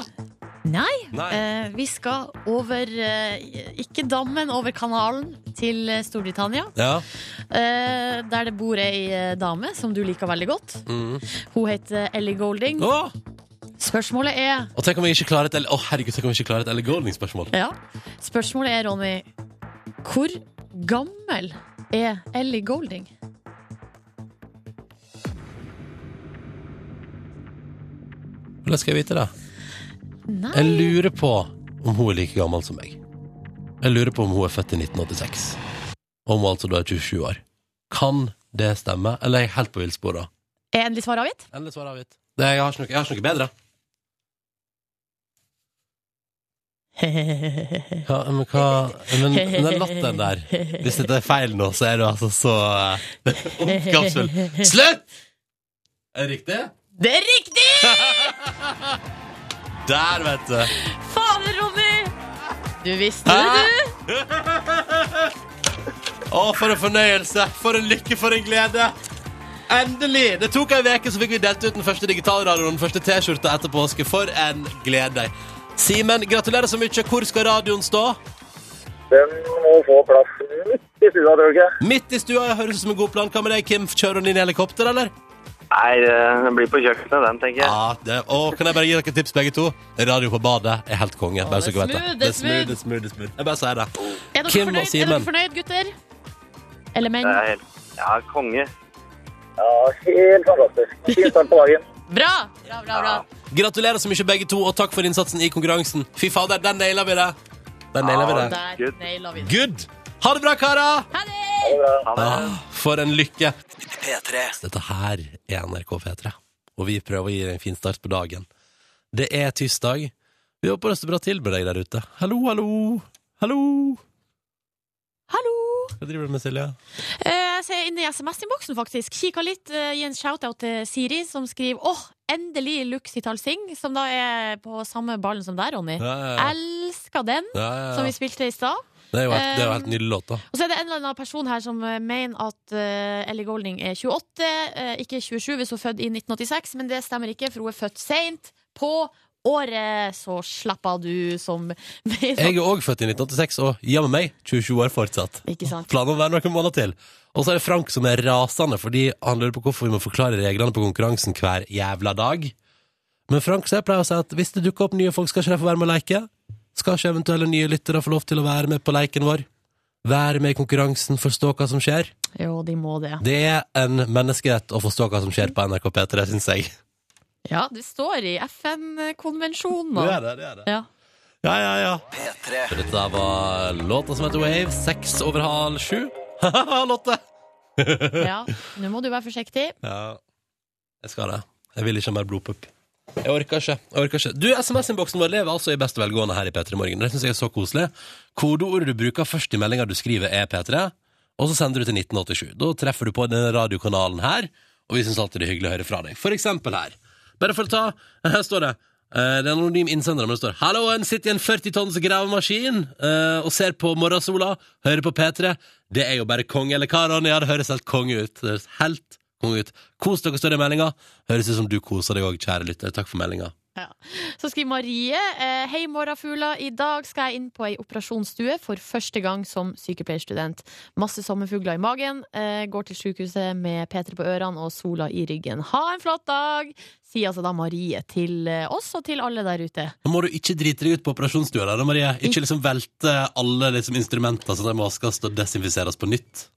[SPEAKER 3] Nei,
[SPEAKER 2] Nei.
[SPEAKER 3] eh, vi skal over eh, Ikke dammen, over kanalen til eh, Storbritannia.
[SPEAKER 2] Ja.
[SPEAKER 3] Eh, der det bor ei eh, dame som du liker veldig godt.
[SPEAKER 2] Mm.
[SPEAKER 3] Hun heter Ellie Golding.
[SPEAKER 2] Å,
[SPEAKER 3] Spørsmålet er
[SPEAKER 2] og tenk om vi ikke klarer et L- Å, herregud, tenk om vi ikke klarer et Elle Golding-spørsmål.
[SPEAKER 3] Ja, spørsmålet er, Ronny Hvor gammel er Ellie Golding?
[SPEAKER 2] Hvordan skal jeg vite det?
[SPEAKER 3] Nei,
[SPEAKER 2] Jeg lurer på om hun er like gammel som meg. Jeg lurer på om hun er født i 1986. Om hun altså da er 27 år. Kan det stemme? Eller er jeg helt på villspor, da?
[SPEAKER 3] Er endelig svar avgitt?
[SPEAKER 2] Endelig svar avgitt. Det, jeg, har ikke noe, jeg har ikke noe bedre. Hva, men hva Men den latteren der Hvis dette er feil nå, så er du altså så eh, omkampsfull. Slutt! Er det riktig?
[SPEAKER 3] Det er riktig!
[SPEAKER 2] Der, vet du.
[SPEAKER 3] Fader, Ronny! Du visste det, du.
[SPEAKER 2] Å, for en fornøyelse! For en lykke, for en glede! Endelig! Det tok ei uke, så fikk vi delt ut den første digitalradioen, den første T-skjorta etter påske. For en glede. Simen, gratulerer så mye. Hvor skal radioen stå?
[SPEAKER 1] Den må få plass midt i stua, tror du ikke?
[SPEAKER 2] Midt i stua. Jeg høres ut som en god plan. Hva med deg, Kim? Kjører hun inn i helikopter, eller?
[SPEAKER 5] Nei, eh, den blir på kjøkkenet, den, tenker jeg.
[SPEAKER 2] Ja, det, og kan jeg bare gi dere et tips, begge to? Radio på badet er helt konge. Bare så
[SPEAKER 3] det er
[SPEAKER 2] dere vet
[SPEAKER 3] smooth,
[SPEAKER 2] det er
[SPEAKER 3] det er
[SPEAKER 2] smooth, det er smooth, det er smooth. Jeg bare sier det.
[SPEAKER 3] Er dere,
[SPEAKER 2] Kim og
[SPEAKER 3] fornøyd, er
[SPEAKER 2] Simen.
[SPEAKER 3] dere fornøyd, gutter? Eller menn?
[SPEAKER 5] Det er helt Ja, konge.
[SPEAKER 1] Ja, helt fantastisk. Fin start på dagen.
[SPEAKER 3] Bra! Bra, bra, bra.
[SPEAKER 2] Gratulerer så mye, begge to, og takk for innsatsen i konkurransen. Fy fader, der naila vi det! Der naila vi det.
[SPEAKER 3] Der
[SPEAKER 5] Good.
[SPEAKER 3] naila vi det.
[SPEAKER 2] Good! Ha det bra, karer!
[SPEAKER 3] Ha det!
[SPEAKER 5] Ha det.
[SPEAKER 2] Ah, for en lykke! Dette her er NRK P3, og vi prøver å gi deg en fin start på dagen. Det er tirsdag. Vi håper det står bra til med deg der ute. Hallo, hallo! Hallo!
[SPEAKER 3] Hallo!
[SPEAKER 2] Hva driver du med, Silje?
[SPEAKER 3] Eh, Jeg ser inne i SMS-innboksen, faktisk. Kikka litt, eh, gi en shout-out til Siri, som skriver åh, endelig Luxital Sing, som da er på samme ballen som deg, Ronny.
[SPEAKER 2] Ja, ja, ja.
[SPEAKER 3] Elska den,
[SPEAKER 2] Ja, ja,
[SPEAKER 3] som
[SPEAKER 2] ja.
[SPEAKER 3] vi spilte i stad.
[SPEAKER 2] Det er jo helt, det er jo helt nydelig låt, da.
[SPEAKER 3] Og så er det en eller annen person her som eh, mener at eh, Ellie Golding er 28, eh, ikke 27 hvis hun er født i 1986, men det stemmer ikke, for hun er født seint på året. Så slapp av, du som
[SPEAKER 2] Jeg er òg født i 1986, og jammen meg 27 år fortsatt.
[SPEAKER 3] Ikke sant?
[SPEAKER 2] Planen om å være noen måneder til. Og så er det Frank som er rasende, fordi han lurer på hvorfor vi må forklare reglene på konkurransen hver jævla dag. Men Frank så jeg pleier å si at hvis det dukker opp nye folk, skal ikke de få være med å leke? Skal ikke eventuelle nye lyttere få lov til å være med på leken vår? Være med i konkurransen, forstå hva som skjer?
[SPEAKER 3] Jo, de må det.
[SPEAKER 2] Det er en menneskerett å forstå hva som skjer på NRK P3, syns jeg.
[SPEAKER 3] Ja, det står i FN-konvensjonen.
[SPEAKER 2] Det
[SPEAKER 3] da.
[SPEAKER 2] er det, det er det.
[SPEAKER 3] Ja.
[SPEAKER 2] Ja, ja, ja. Dette var låta som heter Wave, seks over halv sju. Ha-ha, Lotte!
[SPEAKER 3] ja, nå må du være forsiktig.
[SPEAKER 2] Ja, jeg skal det. Jeg vil ikke ha mer blodpupp. Jeg orker ikke. jeg orker ikke. Du, SMS-innboksen vår lever altså i beste velgående her i P3 Morgen. Det syns jeg er så koselig. Kodeordet du bruker først i meldinga du skriver, er P3, og så sender du til 1987. Da treffer du på denne radiokanalen her, og vi syns alltid det er hyggelig å høre fra deg. For eksempel her. Bare for å ta Her står det. eh, Det er en anonym innsender, men det står 'Hallo, en sitter i en 40 tonns gravemaskin eh, og ser på morgensola, hører på P3.' Det er jo bare konge, eller hva, Ronny? Ja, det høres helt konge ut. Det høres helt konge ut. Kos dere, står det i meldinga. Høres ut som du koser deg òg, kjære lytter. Takk for meldinga.
[SPEAKER 3] Så skriver Marie eh, Hei morgenfugler, i dag skal jeg inn på ei operasjonsstue for første gang som sykepleierstudent. Masse sommerfugler i magen, eh, går til sykehuset med Peter på ørene og sola i ryggen. Ha en flott dag! Sier altså da Marie til eh, oss og til alle der ute.
[SPEAKER 2] Nå må du ikke drite deg ut på operasjonsstua, der, da, Marie. Ikke liksom velte alle liksom, instrumenter så de må vaskes og desinfiseres på nytt.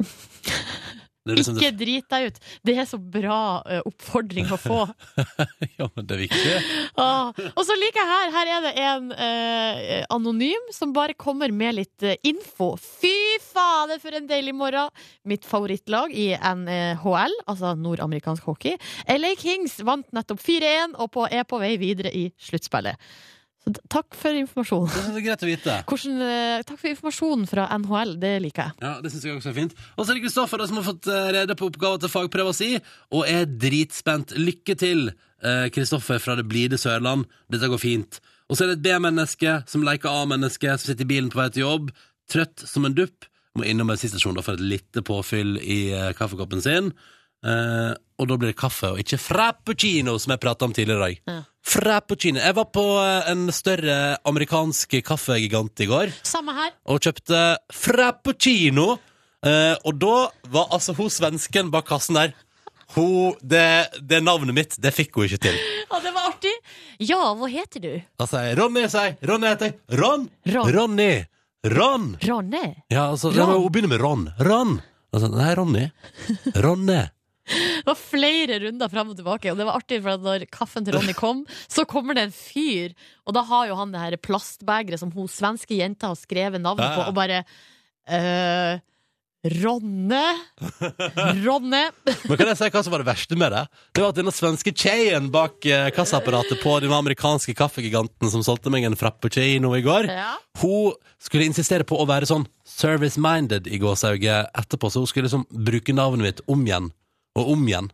[SPEAKER 2] Det er liksom
[SPEAKER 3] Ikke drit deg ut! Det er så bra eh, oppfordring å få.
[SPEAKER 2] Ja, men det er viktig.
[SPEAKER 3] Ah, og så liker jeg her, her er det en eh, anonym som bare kommer med litt eh, info. Fy fader, for en deilig morgen! Mitt favorittlag i NHL, altså nordamerikansk hockey, LA Kings, vant nettopp 4-1 og på, er på vei videre i sluttspillet. Så d- takk for informasjonen.
[SPEAKER 2] Det synes jeg er liksom greit å vite.
[SPEAKER 3] Hvordan, eh, takk for informasjonen fra NHL, det liker jeg.
[SPEAKER 2] Ja, det synes jeg også er fint. Og så er det Kristoffer da, som har fått eh, rede på oppgaven til fagprøva si, og er dritspent. Lykke til, eh, Kristoffer fra det blide Sørland. Dette går fint. Og så er det et B-menneske som leker A-menneske, som sitter i bilen på vei til jobb, trøtt som en dupp, må innom en stasjon da for et lite påfyll i eh, kaffekoppen sin. Eh, og da blir det kaffe, og ikke frappuccino, som jeg prata om tidligere i dag.
[SPEAKER 3] Ja.
[SPEAKER 2] Frappuccino. Jeg var på eh, en større amerikansk kaffegigant i går
[SPEAKER 3] Samme her.
[SPEAKER 2] og kjøpte frappuccino. Eh, og da var altså hun svensken bak kassen der hun, det, det navnet mitt, det fikk hun ikke til.
[SPEAKER 3] Ja, det var artig! Ja, hva heter du?
[SPEAKER 2] Da sier jeg Ronny, sier jeg. Ronny heter jeg. Ron.
[SPEAKER 3] Ron.
[SPEAKER 2] Ronny. Ron.
[SPEAKER 3] Ronny?
[SPEAKER 2] Ja, altså,
[SPEAKER 3] Ron.
[SPEAKER 2] Hun begynner med Ron. Ron. Altså, nei, Ronny. Ronny.
[SPEAKER 3] Det var flere runder fram og tilbake, og det var artig, for at når kaffen til Ronny kom, så kommer det en fyr, og da har jo han det her plastbegeret som hun svenske jenta har skrevet navnet
[SPEAKER 2] Ja, ja.
[SPEAKER 3] på, og bare eh, Ronne Ronne
[SPEAKER 2] Men kan jeg si hva som var det verste med det? Det var at denne svenske tjejen bak eh, kassaapparatet på den amerikanske kaffegiganten som solgte meg en frappuccino i går,
[SPEAKER 3] Ja.
[SPEAKER 2] hun skulle insistere på å være sånn service-minded i gåsauget etterpå, så hun skulle liksom bruke navnet mitt om igjen og om igjen.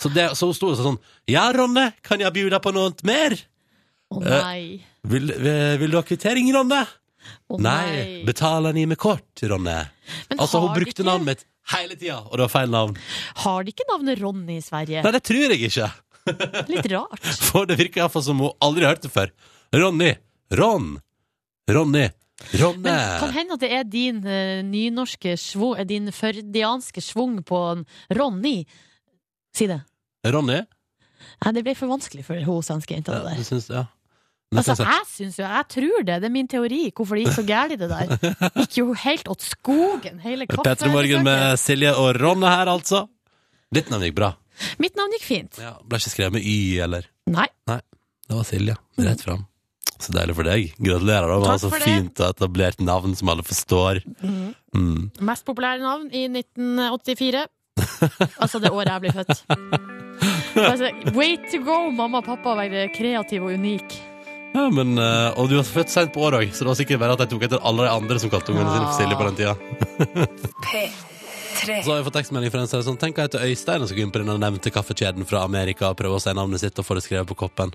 [SPEAKER 2] Så, det, så hun sto og sa sånn Ja, Ronne, kan jeg bjuda på noe mer?
[SPEAKER 3] Å
[SPEAKER 2] Eh,
[SPEAKER 3] nei.
[SPEAKER 2] Vil, vil, vil du ha kvittering, Ronne?
[SPEAKER 3] Å
[SPEAKER 2] Nei, betaler ni med kort, Ronne?
[SPEAKER 3] Men
[SPEAKER 2] Altså, hun
[SPEAKER 3] har de
[SPEAKER 2] brukte
[SPEAKER 3] ikke-
[SPEAKER 2] navnet mitt hele tida, og det var feil navn.
[SPEAKER 3] Har de ikke navnet Ronny i Sverige?
[SPEAKER 2] Nei, det tror jeg ikke.
[SPEAKER 3] Litt rart.
[SPEAKER 2] For det virker iallfall som hun aldri har hørt det før. Ronny. Ron. Ronny. Ronne.
[SPEAKER 3] Men kan hende at det er din eh, nynorske svung, eh, din førdianske svung på en Ronny. Si det.
[SPEAKER 2] Ronny?
[SPEAKER 3] Nei, det ble for vanskelig for hun svenske jenta
[SPEAKER 2] Ja,
[SPEAKER 3] det der.
[SPEAKER 2] du syns ja. Men
[SPEAKER 3] Altså,
[SPEAKER 2] syns jeg-
[SPEAKER 3] jeg syns jo, jeg tror det, det er min teori, hvorfor det gikk så gærent det der. Gikk jo helt åt skogen, hele
[SPEAKER 2] Petter Morgen
[SPEAKER 3] kaffebesøket.
[SPEAKER 2] med Silje og Ronne her, altså. Ditt navn gikk bra.
[SPEAKER 3] Mitt navn gikk fint.
[SPEAKER 2] Ja, ble ikke skrevet med Y, eller?
[SPEAKER 3] Nei.
[SPEAKER 2] Det var Silje. Rett fram. Så deilig for deg. Gratulerer da med å ha
[SPEAKER 3] Takk
[SPEAKER 2] så
[SPEAKER 3] for det.
[SPEAKER 2] fint og etablert navn som alle forstår. Mm.
[SPEAKER 3] Mest populære navn i 1984. Altså det året jeg ble født. Altså, way to go, mamma og pappa, å være kreativ og unik.
[SPEAKER 2] Ja, men, eh, og du var født seint på året òg, så det var sikkert bare at jeg tok etter alle de andre som kalte ungene sine for Silje på den tida. Så har vi fått tekstmelding fra en som er sånn Tenk at jeg heter Øystein og skal gå inn på den nevnte kaffekjeden fra Amerika og prøve å si navnet sitt og få det skrevet på koppen.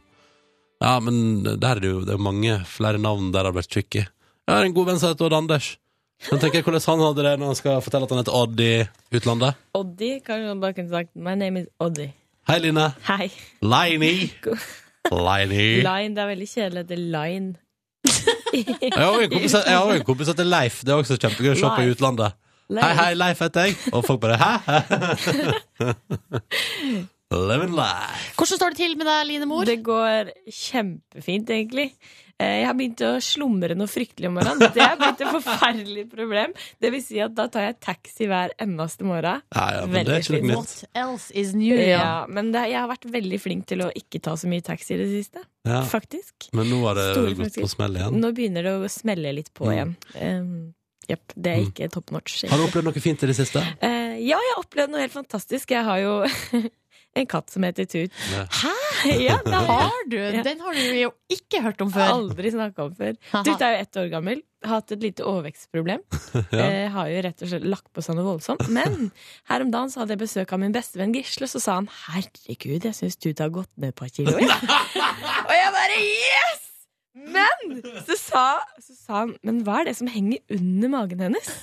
[SPEAKER 2] Ja, men der er det jo det er mange flere navn der det har blitt tricky. Jeg har en god venn som heter Odd Anders. Men tenker jeg hvordan han hadde det når han skal fortelle at han heter Odd i utlandet.
[SPEAKER 7] Oddi, kanskje man bare kunne sagt My name is Oddi.
[SPEAKER 2] Hei, Line.
[SPEAKER 7] Hei.
[SPEAKER 2] Liney. Liney.
[SPEAKER 7] Line, det er veldig kjedelig at det er line.
[SPEAKER 2] Jeg har jo en kompis, jeg har jo en kompis som heter Leif. Det er også kjempegøy å se på i
[SPEAKER 7] Leif.
[SPEAKER 2] utlandet. Hei, hei, Leif heter jeg. Og folk bare hæ? Live and life.
[SPEAKER 3] Hvordan står det til med deg, Line Mor?
[SPEAKER 7] Det går kjempefint, egentlig. Eh, Jeg har begynt å slumre noe fryktelig om morgenen. Det er blitt et forferdelig problem. Det vil si at da tar jeg taxi hver eneste morgen.
[SPEAKER 2] Ja, ja, men det er ikke
[SPEAKER 7] Veldig
[SPEAKER 2] noe nytt.
[SPEAKER 3] What else is new?
[SPEAKER 7] Ja, men det, jeg har vært veldig flink til å ikke ta så mye taxi i det siste,
[SPEAKER 2] Ja.
[SPEAKER 7] faktisk.
[SPEAKER 2] Men nå har
[SPEAKER 7] Store
[SPEAKER 2] det gått på
[SPEAKER 7] flasker.
[SPEAKER 2] smell igjen.
[SPEAKER 7] Nå begynner det å smelle litt på igjen.
[SPEAKER 2] Mm.
[SPEAKER 7] Eh, Jepp. det er ikke top notch.
[SPEAKER 2] Har du opplevd noe fint i det siste?
[SPEAKER 7] Eh, ja, jeg har opplevd noe helt fantastisk. Jeg har jo en katt som heter Tut. ja, det har jeg
[SPEAKER 3] Har du? Den har du jo ikke hørt om før.
[SPEAKER 7] aldri snakka om før.
[SPEAKER 3] Haha.
[SPEAKER 7] Tut er jo ett år gammel. Har hatt et lite overvekstproblem.
[SPEAKER 2] Ja.
[SPEAKER 7] Eh, har jo rett og slett lagt på seg noe voldsomt. Men her om dagen så hadde jeg besøk av min bestevenn Gisle, og så sa han 'herregud, jeg syns Tut har gått ned et par kilo'. jeg». og jeg bare 'yes!' Men så sa, så sa han 'men hva er det som henger under magen hennes'?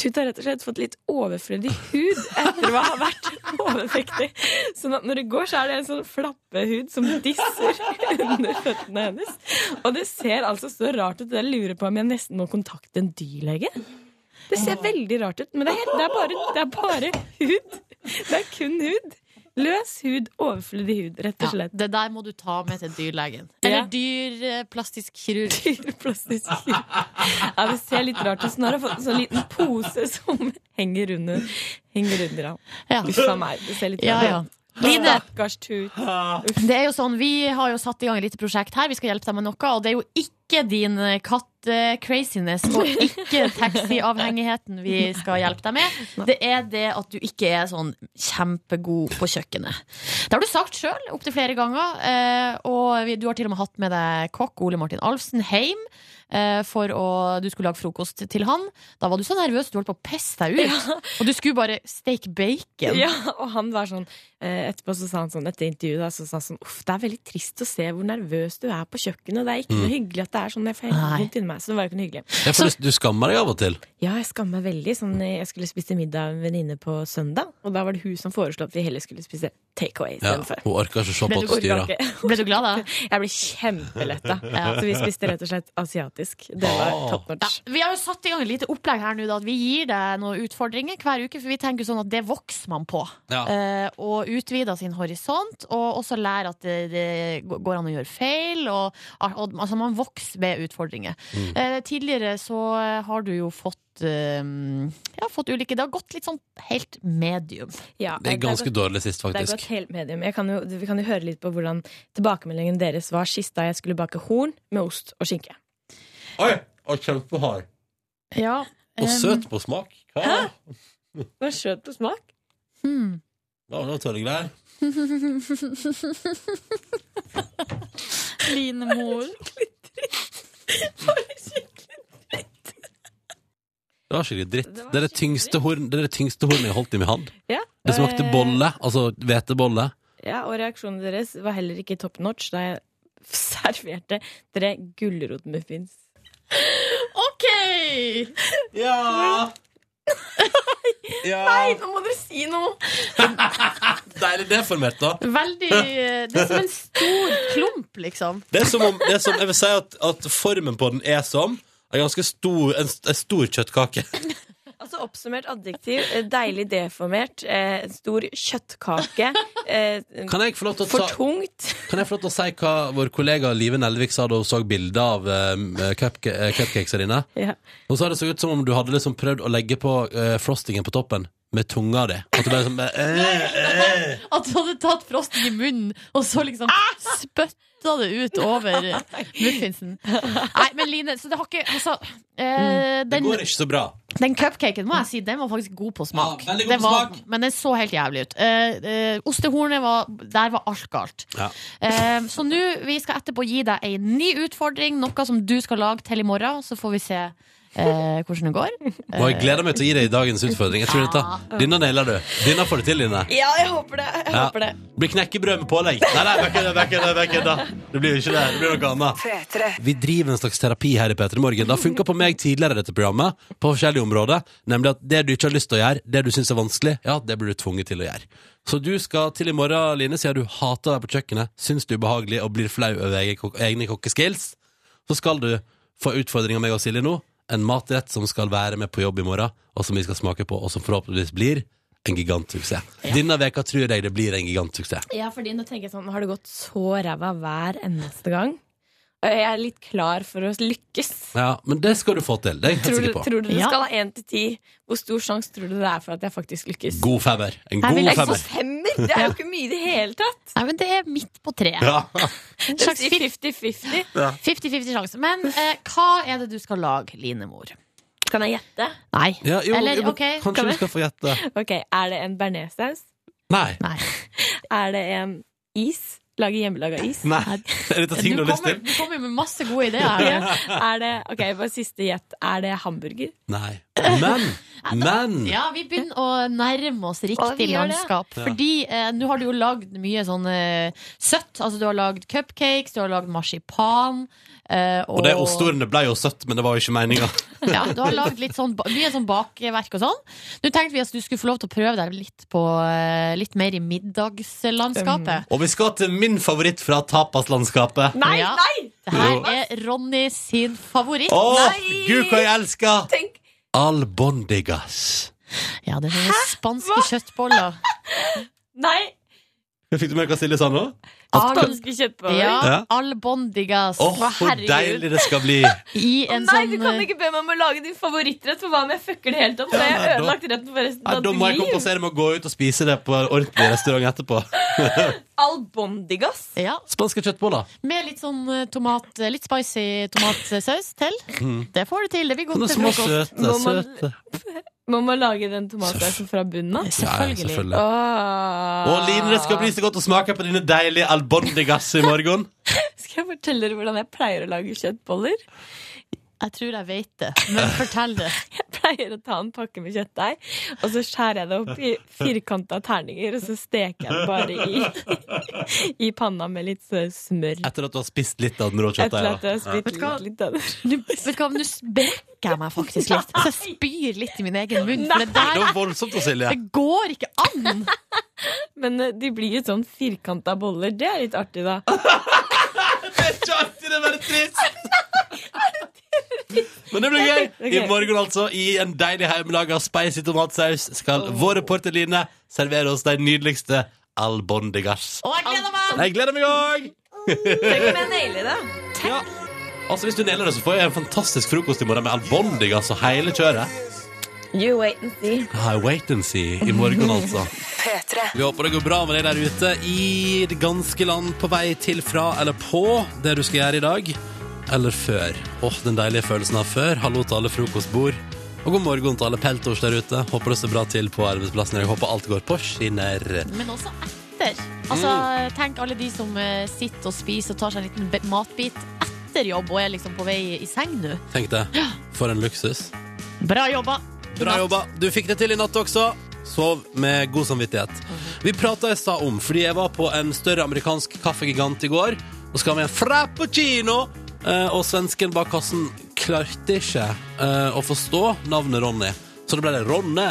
[SPEAKER 7] Tut har rett og slett fått litt overflødig hud etter å ha vært overvektig. Sånn at når det går, så er det en sånn flappe hud som disser under føttene hennes. Og det ser altså så rart ut. Jeg lurer på om jeg nesten må kontakte en dyrlege. Det ser veldig rart ut, men det er, helt, det er, bare, det er bare hud. Det er kun hud. Løs hud, overflødig hud, rett
[SPEAKER 3] Ja,
[SPEAKER 7] og slett.
[SPEAKER 3] det der må du ta med til dyrlegen.
[SPEAKER 7] Ja.
[SPEAKER 3] Eller dyrplastisk kirurg.
[SPEAKER 7] Plastisk kirurg. Ja, det ser litt rart ut. Så nå har jeg fått en sånn liten pose som henger under, henger under ham.
[SPEAKER 3] Ja.
[SPEAKER 7] Uff a meg. Det ser litt
[SPEAKER 3] Ja,
[SPEAKER 7] rart
[SPEAKER 3] ja.
[SPEAKER 7] ut.
[SPEAKER 3] Line,
[SPEAKER 7] Stakkars tut.
[SPEAKER 3] det er jo sånn, vi har jo satt i gang et lite prosjekt her. Vi skal hjelpe deg med noe. Og det er jo ikke din eh, katt-craziness og ikke taxiavhengigheten vi skal hjelpe deg med. Det er det at du ikke er sånn kjempegod på kjøkkenet. Det har du sagt sjøl opptil flere ganger. eh, Og vi- du har til og med hatt med deg kokk Ole Martin Alfsen heim. eh, For å, du skulle lage frokost til han. Da var du så nervøs, du holdt på å pisse deg ut. Og du skulle bare steke bacon.
[SPEAKER 7] Ja, og han var sånn eh, Etterpå så sa han sånn etter intervjuet da, så sa han sånn Uff, det er veldig trist å se hvor nervøs du er på kjøkkenet. Det er ikke
[SPEAKER 2] Mm.
[SPEAKER 7] noe hyggelig at det er sånn. Jeg får helt
[SPEAKER 3] Nei.
[SPEAKER 7] vondt inni meg. Så det var jo ikke noe hyggelig.
[SPEAKER 2] Ja, for du, du skammer deg av og til.
[SPEAKER 7] Ja, jeg skammer meg veldig. Sånn, eh, jeg skulle spise middag med en venninne på søndag, og da var det hun som foreslo at vi heller skulle spise takeaway
[SPEAKER 2] Ja,
[SPEAKER 7] istedenfor.
[SPEAKER 2] hun orker ikke å se på
[SPEAKER 3] Men
[SPEAKER 2] at
[SPEAKER 3] du
[SPEAKER 2] du
[SPEAKER 3] orker
[SPEAKER 2] styrer.
[SPEAKER 3] Ble du glad da?
[SPEAKER 7] Jeg ble kjempeletta.
[SPEAKER 3] Ja.
[SPEAKER 7] Så vi spiste rett og slett asiatisk. Det var
[SPEAKER 2] Åh.
[SPEAKER 7] top notch.
[SPEAKER 3] Vi har jo satt i gang et lite opplegg her nå, da, at vi gir deg noen utfordringer hver uke. For vi tenker sånn at det vokser man på.
[SPEAKER 2] Ja.
[SPEAKER 3] Eh, og utvider sin horisont, og også lærer at det, det går an å gjøre feil. Og, og, altså man vokser ved utfordringer. Eh, tidligere så har du jo fått fått eh, Ja, fått ulike Det har gått litt sånn helt medium.
[SPEAKER 7] Ja,
[SPEAKER 2] Det er ganske
[SPEAKER 7] gått-
[SPEAKER 2] dårlig sist,
[SPEAKER 7] Det er
[SPEAKER 2] faktisk.
[SPEAKER 7] godt helt medium. Jeg kan jo, vi kan jo høre litt på hvordan tilbakemeldingen deres var sist da jeg skulle bake horn med ost og skinke.
[SPEAKER 2] Oi! Og kjempehard.
[SPEAKER 7] Ja,
[SPEAKER 2] Og søt på smak. Hva?
[SPEAKER 7] Men søt på smak.
[SPEAKER 3] Hmm.
[SPEAKER 2] Ja, det var tørregreier.
[SPEAKER 3] Line mor.
[SPEAKER 2] Det var skikkelig dritt.
[SPEAKER 7] Det
[SPEAKER 2] Det,
[SPEAKER 7] var
[SPEAKER 2] er det tyngste horn, det er det tyngste hornet jeg har holdt i min hand.
[SPEAKER 7] Ja.
[SPEAKER 2] Det smakte bolle, altså hvetebolle.
[SPEAKER 7] Ja, og reaksjonene deres var heller ikke top notch da jeg serverte dere gulrotmuffins.
[SPEAKER 3] OK!
[SPEAKER 2] Ja! ja.
[SPEAKER 7] nå må dere si noe!
[SPEAKER 2] Deilig deformert, da.
[SPEAKER 3] Veldig eh, Det er som en stor klump, liksom.
[SPEAKER 2] Det er som om det er som, Jeg vil si at, at formen på den er som en ganske stor, en, en stor kjøttkake.
[SPEAKER 7] Altså Oppsummert adjektiv eh, deilig deformert, eh, stor kjøttkake, eh,
[SPEAKER 2] Kan jeg få lov til å
[SPEAKER 7] for
[SPEAKER 2] ta
[SPEAKER 7] tungt.
[SPEAKER 2] Kan jeg få lov til å si hva vår kollega Live Nelvik sa da hun så bildet av eh, cupca- eh, cupcakesa dine?
[SPEAKER 7] Ja.
[SPEAKER 2] Hun sa det så ut som om du hadde liksom prøvd å legge på eh, frostingen på toppen med tunga di. At du bare sånn eh, eh.
[SPEAKER 3] At du hadde tatt frosten i munnen, og så liksom spytta det ut over muffinsen. Nei, men Line, så det har ikke Altså, eh,
[SPEAKER 2] Mm. Det
[SPEAKER 3] den,
[SPEAKER 2] går ikke så bra.
[SPEAKER 3] den cupcaken må jeg si, den var faktisk god på smak.
[SPEAKER 2] Ja, veldig god
[SPEAKER 3] Det
[SPEAKER 2] på
[SPEAKER 3] var,
[SPEAKER 2] smak.
[SPEAKER 3] Men den så helt jævlig ut. Eh, eh, ostehornet var Der var alt galt.
[SPEAKER 2] Ja.
[SPEAKER 3] Eh, så nå, vi skal etterpå gi deg ei ny utfordring, noe som du skal lage til i morgen. Så får vi se eh, hvordan det går.
[SPEAKER 2] Og jeg gleder meg til å gi deg dagens utfordring. Jeg tror dette, Denne nailer du. Denne får du til, Line.
[SPEAKER 7] ja, jeg håper det. Jeg
[SPEAKER 2] Ja.
[SPEAKER 7] håper det.
[SPEAKER 2] Blir knekkebrød med pålegg. Nei, nei, vekk det, vekk det, vekk det. Det blir jo ikke det. Det blir noe annet. Vi driver en slags terapi her i P3 Morgen. Det har funka på meg tidligere i dette programmet, på forskjellige områder. Nemlig at det du ikke har lyst til å gjøre, det du syns er vanskelig, ja, det blir du tvunget til å gjøre. Så du skal til i morgen, Line, siden du hater deg på kjøkkenet, syns du er ubehagelig og blir flau over egne kok- egne kokkeskills, så skal du få utfordring av meg og Silje nå. En matrett som skal være med på jobb i morgen, og som vi skal smake på, og som forhåpentligvis blir en gigantsuksess. Denne veka tror jeg det blir en gigantsuksess.
[SPEAKER 7] Ja, fordi nå tenker jeg sånn, har det gått så ræva hver eneste gang? Og Jeg er litt klar for å lykkes.
[SPEAKER 2] Ja, men det skal du få til. Det er jeg helt
[SPEAKER 7] Tror du,
[SPEAKER 2] sikker på.
[SPEAKER 7] tror du det
[SPEAKER 3] Ja.
[SPEAKER 7] skal ha én til ti? Hvor stor sjanse tror du det er for at jeg faktisk lykkes?
[SPEAKER 2] God femmer. En
[SPEAKER 3] Jeg vil
[SPEAKER 2] god
[SPEAKER 3] ikke
[SPEAKER 7] Så
[SPEAKER 2] femmer.
[SPEAKER 7] femmer! Det er jo ikke mye i det hele tatt!
[SPEAKER 3] Nei, men det er midt på treet.
[SPEAKER 2] Ja.
[SPEAKER 3] En
[SPEAKER 7] Det
[SPEAKER 3] slags
[SPEAKER 7] sier 50-50.
[SPEAKER 3] 50-50 sjanse. Men eh, hva er det du skal lage, Linemor?
[SPEAKER 7] Kan jeg gjette?
[SPEAKER 3] Nei.
[SPEAKER 2] Ja, jo,
[SPEAKER 3] Eller,
[SPEAKER 2] jo, men
[SPEAKER 3] ok,
[SPEAKER 2] kanskje
[SPEAKER 7] kan
[SPEAKER 2] du
[SPEAKER 7] vi?
[SPEAKER 2] skal få gjette.
[SPEAKER 7] Ok, Er det en bearnéssaus?
[SPEAKER 2] Nei.
[SPEAKER 3] Nei.
[SPEAKER 7] Er det en is? Lage hjemmelaga is?
[SPEAKER 2] Nei. Er dette ting du
[SPEAKER 3] Du
[SPEAKER 2] har lyst
[SPEAKER 3] kommer,
[SPEAKER 2] til?
[SPEAKER 3] du kommer med masse gode ideer.
[SPEAKER 7] Ja.
[SPEAKER 3] her.
[SPEAKER 7] Er det, ok, bare siste gjett. Er det hamburger?
[SPEAKER 2] Nei. Men, men
[SPEAKER 3] Ja, vi begynner å nærme oss
[SPEAKER 7] Å, vi
[SPEAKER 3] riktig
[SPEAKER 7] gjør det.
[SPEAKER 3] landskap.
[SPEAKER 2] Ja.
[SPEAKER 3] Fordi eh, nå har du jo lagd mye sånn eh, søtt. Altså, du har lagd cupcakes, du har lagd marsipan. eh,
[SPEAKER 2] Og det ostorene ble jo søtt, men det var jo ikke meninga.
[SPEAKER 3] Ja, du har lagd litt sånn, ba- mye sånn bakverk og sånn. Nå tenkte vi at du skulle få lov til å prøve deg litt, på, eh, litt mer i middagslandskapet.
[SPEAKER 2] Og vi skal til min favoritt fra tapaslandskapet.
[SPEAKER 7] Um, Nei,
[SPEAKER 3] Ja.
[SPEAKER 7] nei!
[SPEAKER 3] Det her er Ronny sin favoritt.
[SPEAKER 2] Å,
[SPEAKER 7] Nei!
[SPEAKER 2] gud, hva jeg elsker!
[SPEAKER 7] Tenk,
[SPEAKER 2] Albondigas.
[SPEAKER 3] Ja, det er sånne spanske kjøttboller.
[SPEAKER 7] nei!
[SPEAKER 2] Fikk du med hva Silje sa nå?
[SPEAKER 7] Spanske kjøttboller.
[SPEAKER 3] Ja,
[SPEAKER 2] Ja.
[SPEAKER 3] albondigas.
[SPEAKER 2] Åh,
[SPEAKER 7] Hva,
[SPEAKER 2] hvor
[SPEAKER 7] herregud.
[SPEAKER 2] deilig det skal bli.
[SPEAKER 3] I
[SPEAKER 7] Å
[SPEAKER 3] en
[SPEAKER 7] nei, du
[SPEAKER 3] sånn
[SPEAKER 4] eh,
[SPEAKER 7] kan ikke be meg om å lage din favorittrett, for hva om jeg fucker det helt opp? Så har
[SPEAKER 2] Ja, nei,
[SPEAKER 7] jeg
[SPEAKER 2] da-
[SPEAKER 7] ødelagt retten for resten
[SPEAKER 2] Ja,
[SPEAKER 7] av
[SPEAKER 2] da må jeg
[SPEAKER 7] ditt liv.
[SPEAKER 2] kompensere med å gå ut og spise det på en ordentlig restaurant etterpå.
[SPEAKER 7] Albondigas.
[SPEAKER 3] ja,
[SPEAKER 2] Spanske kjøttboller.
[SPEAKER 3] Med litt sånn eh, tomat, eh, litt spicy tomatsaus til. Det får du til. Det blir
[SPEAKER 2] Mm. Sånne
[SPEAKER 3] godt til
[SPEAKER 2] små
[SPEAKER 3] frokost.
[SPEAKER 2] søte, søte
[SPEAKER 7] Må man lage den tomatsausen fra bunnen av?
[SPEAKER 2] Ja,
[SPEAKER 3] Selvfølgelig.
[SPEAKER 2] selvfølgelig. Og Line, det skal bli så godt å smake på dine deilige albondigas i morgen.
[SPEAKER 7] Skal jeg fortelle dere hvordan jeg pleier å lage kjøttboller?
[SPEAKER 3] Jeg tror jeg vet det, men fortell det.
[SPEAKER 7] Jeg pleier å ta en pakke med kjøttdeig, og så skjærer jeg det opp i firkanta terninger, og så steker jeg det bare i, i panna med litt så smør.
[SPEAKER 2] Etter at du har spist litt av den rå
[SPEAKER 7] Etter
[SPEAKER 2] kjøttdeigen.
[SPEAKER 7] at jeg har spilt litt, litt av det.
[SPEAKER 3] Nå, vet du hva, nå brekker jeg meg faktisk litt. Så jeg spyr litt i min egen munn. For det
[SPEAKER 2] Det
[SPEAKER 3] der
[SPEAKER 2] var voldsomt, da, Silje.
[SPEAKER 3] det går ikke an!
[SPEAKER 7] Men eh, de blir jo sånn firkanta boller. Det er litt artig, da.
[SPEAKER 2] Det er ikke artig, det er bare trist. Men det blir gøy. I
[SPEAKER 7] Ok.
[SPEAKER 2] morgen, altså, i en deilig hjemmelaga spicy tomatsaus, skal vår reporter Line servere oss de nydeligste albondigas.
[SPEAKER 3] Og jeg gleder meg!
[SPEAKER 2] Jeg gleder meg òg!
[SPEAKER 7] Tenk om jeg nailer det.
[SPEAKER 2] Ja. Altså Hvis du nailer det, så får jeg en fantastisk frokost i morgen med albondig, altså hele kjøret.
[SPEAKER 4] You wait and see.
[SPEAKER 2] I wait and see i morgen, altså. Vi håper det går bra med deg der ute i det ganske land, på vei til, fra eller på det du skal gjøre i dag. Eller før. Åh, den deilige følelsen av før. Hallo til alle frokostbord. Og god morgen til alle peltors der ute. Håper det står bra til på arbeidsplassen. Jeg håper alt går på skinner.
[SPEAKER 3] Men også etter. Altså,
[SPEAKER 2] Mm.
[SPEAKER 3] Tenk alle de som eh, sitter og spiser og tar seg en liten be- matbit etter jobb og er liksom på vei i seng nå.
[SPEAKER 2] Tenk det. For en luksus.
[SPEAKER 3] Bra jobba!
[SPEAKER 2] Bra jobba. Du fikk det til i natt også. Sov med god samvittighet. Vi prata i stad om, fordi jeg var på en større amerikansk kaffegigant i går, og skal med en frappuccino, eh, og svensken bak kassen klarte ikke eh, å forstå navnet Ronny. Så det ble det Ronne.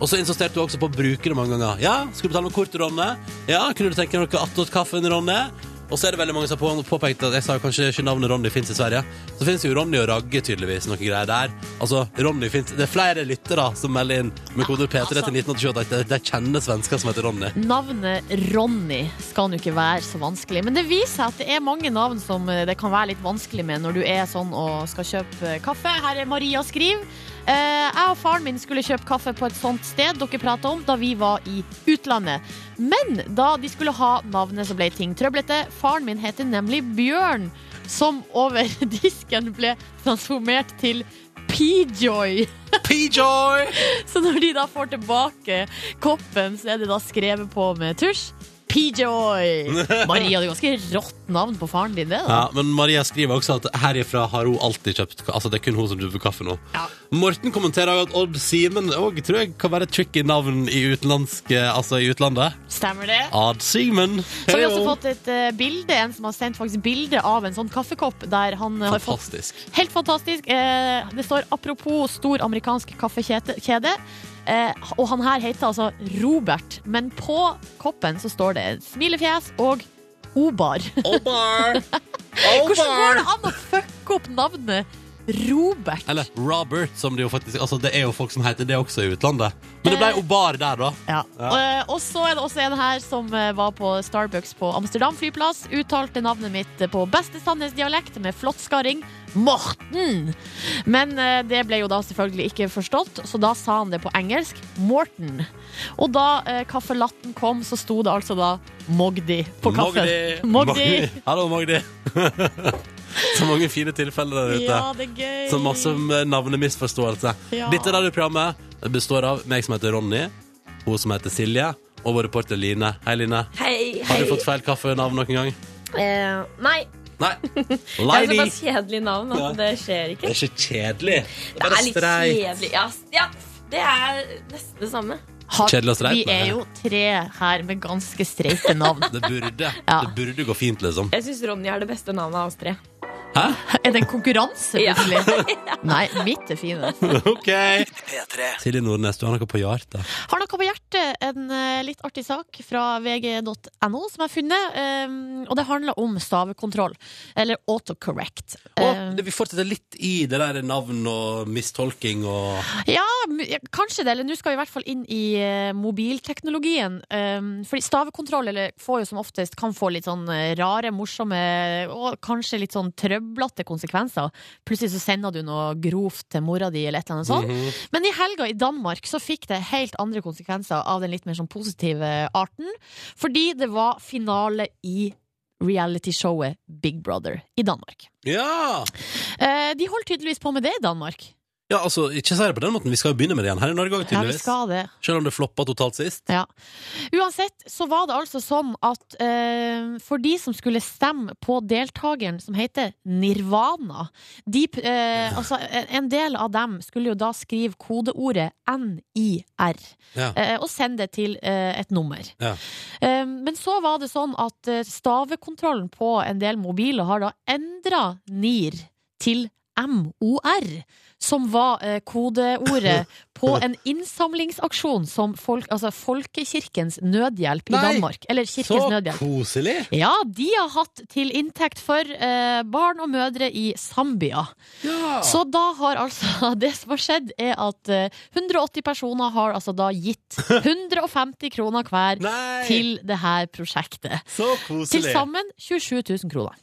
[SPEAKER 2] Og så insisterte hun også på å bruke det mange ganger. Ja, skulle du betale med kort, Ronne? Ja, kunne du tenke deg noe attåtkaffen, Ronne? Og så er det veldig mange som har på- påpekt at jeg sa kanskje ikke navnet Ronny fins i Sverige. Så fins jo Ronny og Ragge, tydeligvis, noen greier der. Altså, Ronny finnes, Det er flere lyttere som melder inn med kode P3 til
[SPEAKER 3] altså.
[SPEAKER 2] 1987 at de- de kjenner svensker som heter Ronny.
[SPEAKER 3] Navnet Ronny skal nå ikke være så vanskelig, men det viser seg at det er mange navn som eh, det kan være litt vanskelig med når du er sånn og skal kjøpe eh, kaffe. Her er Maria skriver. Eh, jeg og faren min skulle kjøpe kaffe på et sånt sted dere prata om da vi var i utlandet. Men da de skulle ha navnet, så ble ting trøblete. Faren min heter nemlig Bjørn, som over disken ble transformert til P-Joy.
[SPEAKER 2] P-Joy!
[SPEAKER 3] Så når de da får tilbake koppen, så er det da skrevet på med tusj. PJoy! Maria, det er ganske rått navn på faren din, det. da
[SPEAKER 2] Ja, men Maria skriver også at herifra har hun alltid kjøpt ka- Altså, det er kun hun som driver kaffe nå.
[SPEAKER 3] Ja.
[SPEAKER 2] Morten kommenterer at Odd Simen òg tror jeg kan være et tricky navn i, utenlandske, altså i utlandet.
[SPEAKER 3] Stemmer det?
[SPEAKER 2] Odd Simen.
[SPEAKER 3] Så har vi også fått et eh, bilde, en som har sendt faktisk bilde av en sånn kaffekopp. Der han eh, har fått
[SPEAKER 2] Fantastisk.
[SPEAKER 3] Helt fantastisk. Eh, det står apropos stor amerikansk kaffekjede. kjede. Eh, og han her heter altså Robert, men på koppen så står det smilefjes og Obar.
[SPEAKER 2] Obar!
[SPEAKER 3] Hvordan går det an å fucke opp navnet Robert?
[SPEAKER 2] Eller Robert, som det jo faktisk Altså, det er jo folk som heter det også i utlandet. Men det
[SPEAKER 3] Eh,
[SPEAKER 2] ble Obar der, da.
[SPEAKER 3] Ja. Eh, og så er det også en her som eh, var på Starbucks på Amsterdam flyplass. Uttalte navnet mitt eh, på beste sannhetsdialekt med flott skarring. Morten! Men eh, det ble jo da selvfølgelig ikke forstått, så da sa han det på engelsk. Morten. Og da eh, kaffelatten kom, så sto det altså da Mogdi på kaffen. Mogdi.
[SPEAKER 2] Hallo, Magdi. Så mange fine tilfeller der ute.
[SPEAKER 3] Ja, det er gøy.
[SPEAKER 2] Så masse eh, navnemisforståelse.
[SPEAKER 3] Ja.
[SPEAKER 2] Dette radioprogrammet består av meg som heter Ronny, hun som heter Silje, og vår reporter Line. Hei, Line.
[SPEAKER 4] Hei, hei.
[SPEAKER 2] Har du fått feil kaffenavn noen gang?
[SPEAKER 4] Eh, nei.
[SPEAKER 2] Nei.
[SPEAKER 4] Det er så
[SPEAKER 2] Lady.
[SPEAKER 4] bare kjedelig navn at
[SPEAKER 2] Ja.
[SPEAKER 4] det skjer ikke.
[SPEAKER 2] Det er ikke kjedelig.
[SPEAKER 4] Det
[SPEAKER 2] bare
[SPEAKER 4] er litt
[SPEAKER 2] streit.
[SPEAKER 4] kjedelig. Ja, s- ja, det er nesten det samme.
[SPEAKER 3] Har-
[SPEAKER 2] Kjedelig og streit,
[SPEAKER 3] Vi
[SPEAKER 2] nei.
[SPEAKER 3] er jo tre her med ganske streite navn.
[SPEAKER 2] Det burde.
[SPEAKER 3] Ja.
[SPEAKER 2] Det burde gå fint, liksom.
[SPEAKER 4] Jeg syns Ronny er det beste navnet av oss tre.
[SPEAKER 2] Hæ?
[SPEAKER 3] Er det en konkurranse,
[SPEAKER 4] Ja.
[SPEAKER 3] plutselig? Nei, mitt er finest.
[SPEAKER 2] OK. Silje Nordnes, du har noe på hjertet.
[SPEAKER 3] Har dere på hjertet en eh, litt artig sak fra vg.no som jeg har funnet? eh, og det handler om stavekontroll, eller autocorrect. Eh,
[SPEAKER 2] Og det- vi fortsetter litt i det der navn og mistolking og
[SPEAKER 3] ja, m- ja, kanskje det. Eller nå skal vi i hvert fall inn i eh, mobilteknologien. Eh, fordi stavekontroll eller, får jo som oftest kan få litt sånn eh, rare, morsomme og kanskje litt sånn trøblete konsekvenser. Plutselig så sender du noe grovt til mora di eller et eller annet sånt.
[SPEAKER 2] Mhm.
[SPEAKER 3] Men i helga i Danmark så fikk det helt andre konsekvenser av den litt mer sånn positive arten. Fordi det var finale i realityshowet Big Brother i Danmark.
[SPEAKER 2] Ja!
[SPEAKER 3] Eh, de holder tydeligvis på med det i Danmark.
[SPEAKER 2] ja! Altså, ikke si det på den måten. Vi skal jo begynne med det igjen her i Norge òg,
[SPEAKER 3] Ja, vi
[SPEAKER 2] tydeligvis.
[SPEAKER 3] skal det.
[SPEAKER 2] Selv om det floppa totalt sist.
[SPEAKER 3] Ja. Uansett så var det altså sånn at eh, for de som skulle stemme på deltakeren som heter Nirvana de, eh, altså, en- En del av dem skulle jo da skrive kodeordet NIR
[SPEAKER 2] Ja.
[SPEAKER 3] eh, og sende det til eh, et nummer.
[SPEAKER 2] Ja.
[SPEAKER 3] Eh, men så var det sånn at eh, stavekontrollen på en del mobiler har da endra NIR til MOR, som var eh, kodeordet på en innsamlingsaksjon som folk, altså Folkekirkens Nødhjelp i
[SPEAKER 2] Nei,
[SPEAKER 3] Danmark. Eller Kirkens Nødhjelp.
[SPEAKER 2] koselig!
[SPEAKER 3] Ja, de har hatt til inntekt for eh, barn og mødre i Zambia.
[SPEAKER 2] Ja.
[SPEAKER 3] Så da har altså Det som har skjedd, er at eh, 180 personer har altså da gitt 150 kroner hver
[SPEAKER 2] Nei!
[SPEAKER 3] til det her prosjektet.
[SPEAKER 2] Så
[SPEAKER 3] Til
[SPEAKER 2] koselig!
[SPEAKER 3] sammen 27 000 kroner.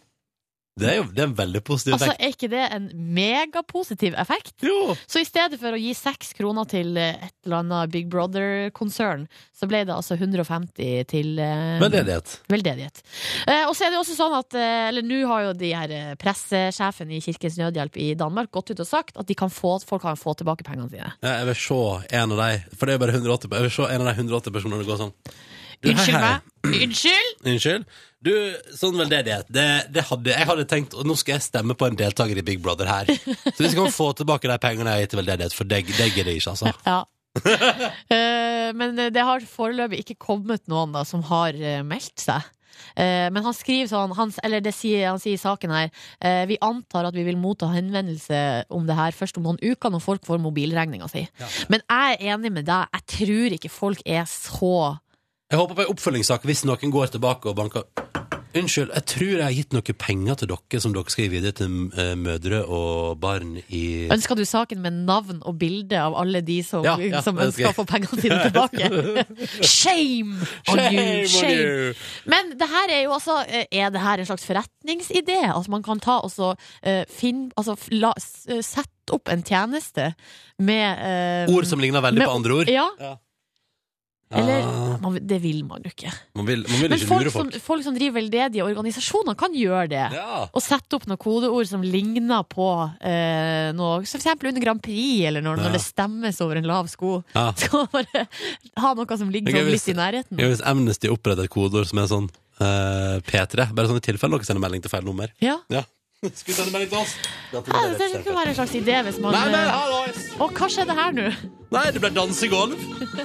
[SPEAKER 2] Det er jo det er en veldig positiv
[SPEAKER 3] Altså,
[SPEAKER 2] effekt.
[SPEAKER 3] er ikke det en megapositiv effekt?
[SPEAKER 2] Jo!
[SPEAKER 3] Så i stedet for å gi seks kroner til eh, et eller annet Big Brother-konsern, så ble det altså 150 til eh,
[SPEAKER 2] Veldedighet.
[SPEAKER 3] veldedighet. Eh, og så er det også sånn at eh, Eller nå har jo de her eh, pressesjefene i Kirkens Nødhjelp i Danmark gått ut og sagt at de kan få, folk kan få tilbake pengene sine.
[SPEAKER 2] Ja, eh, Jeg vil se en av de For det er jo bare 180 Jeg vil se en av de 180 personene gå sånn Du, hei,
[SPEAKER 3] Unnskyld
[SPEAKER 2] hei.
[SPEAKER 3] meg. Unnskyld!
[SPEAKER 2] Unnskyld Du, sånn veldedighet det, det hadde, Jeg hadde tenkt Og nå skal jeg stemme på en deltaker i Big Brother her Så hvis jeg kan få tilbake de pengene jeg har gitt til veldedighet For det, det gidder jeg ikke altså
[SPEAKER 3] Ja. Eh, men det har foreløpig ikke kommet noen da som har eh, meldt seg. Eh, Men han skriver sånn, han, eller det sier, han sier i saken her eh, Vi antar at vi vil motta henvendelse om det her først om noen uker når folk får mobilregninga si. Men jeg er enig med deg, jeg tror ikke folk er så
[SPEAKER 2] Jeg håper på en oppfølgingssak hvis noen går tilbake og banker Unnskyld, jeg tror jeg har gitt noen penger til dere Som dere skal gi videre til eh, mødre og barn i
[SPEAKER 3] Ønsker du saken med navn og bilde av alle de som,
[SPEAKER 2] Ja, ja,
[SPEAKER 3] som
[SPEAKER 2] det
[SPEAKER 3] ønsker
[SPEAKER 2] skal
[SPEAKER 3] å få pengene sine tilbake? Shame on you! Shame! Men det her er jo altså eh, Er det her en slags forretningsidé? Altså man kan ta og så eh, finn, altså, f- la, s- eh, Sette opp en tjeneste med eh,
[SPEAKER 2] Ord som ligner veldig
[SPEAKER 3] Men-
[SPEAKER 2] på andre ord
[SPEAKER 3] Ja, eller
[SPEAKER 2] Ah,
[SPEAKER 3] man, Det vil man jo ikke.
[SPEAKER 2] Man vil, man vil
[SPEAKER 3] Men
[SPEAKER 2] ikke
[SPEAKER 3] folk
[SPEAKER 2] lure
[SPEAKER 3] som,
[SPEAKER 2] folk
[SPEAKER 3] folk som driver veldedige organisasjoner, kan gjøre det.
[SPEAKER 2] Ja
[SPEAKER 3] Og sette opp noen kodeord som ligner på eh, noe som For eksempel under Grand Prix, eller når,
[SPEAKER 2] Ja.
[SPEAKER 3] når det stemmes over en lav sko.
[SPEAKER 2] Ja.
[SPEAKER 3] Skal man bare ha noe som ligger
[SPEAKER 2] Ok,
[SPEAKER 3] sånn
[SPEAKER 2] hvis-
[SPEAKER 3] litt i nærheten.
[SPEAKER 2] Ja, hvis Amnesty oppretter et kodeord som er sånn eh, P3, bare sånn i tilfelle dere sender melding til feil nummer.
[SPEAKER 3] Ja.
[SPEAKER 2] Ja. Skulle sende melding til oss.
[SPEAKER 3] Ja, det kan være en slags idé hvis man
[SPEAKER 2] Nei, men
[SPEAKER 3] eh,
[SPEAKER 2] hallois!
[SPEAKER 3] Å, hva skjedde her nå?
[SPEAKER 2] Nei, det ble dansegolv.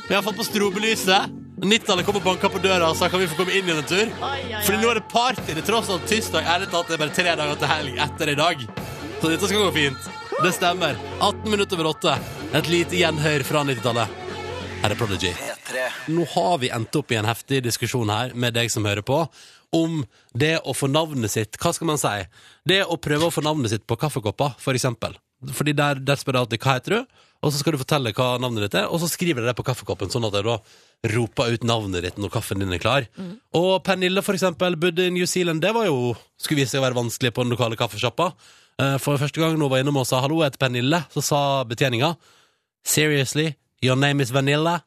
[SPEAKER 2] Vi har fått på strobelyset. 90-tallet kom og banka på døra og sa kan vi få komme inn igjen en tur. Fordi nå er det party. Det er tross alt tirsdag. Ærlig talt, det er bare tre dager til helg etter i dag. Så dette skal gå fint. Det stemmer. 18 minutter over åtte. Et lite gjenhør fra 90-tallet. Her er Prodigy. Nå har vi endt opp i en heftig diskusjon her med deg som hører på, om det å få navnet sitt Hva skal man si? Det å prøve å få navnet sitt på kaffekopper, for eksempel. Fordi der, der spør jeg alltid 'hva heter du?', og så skal du fortelle hva navnet ditt er, og så skriver jeg det på kaffekoppen, sånn at jeg da roper ut navnet ditt når kaffen din er klar. Og Pernille, for eksempel, bodde i New Zealand. Det var jo skulle vise seg å være vanskelig på den lokale kaffesjappa. Eh, For første gang hun var innom og sa 'hallo, jeg heter Pernille', så sa betjeninga 'seriously, your name is Vanilla'.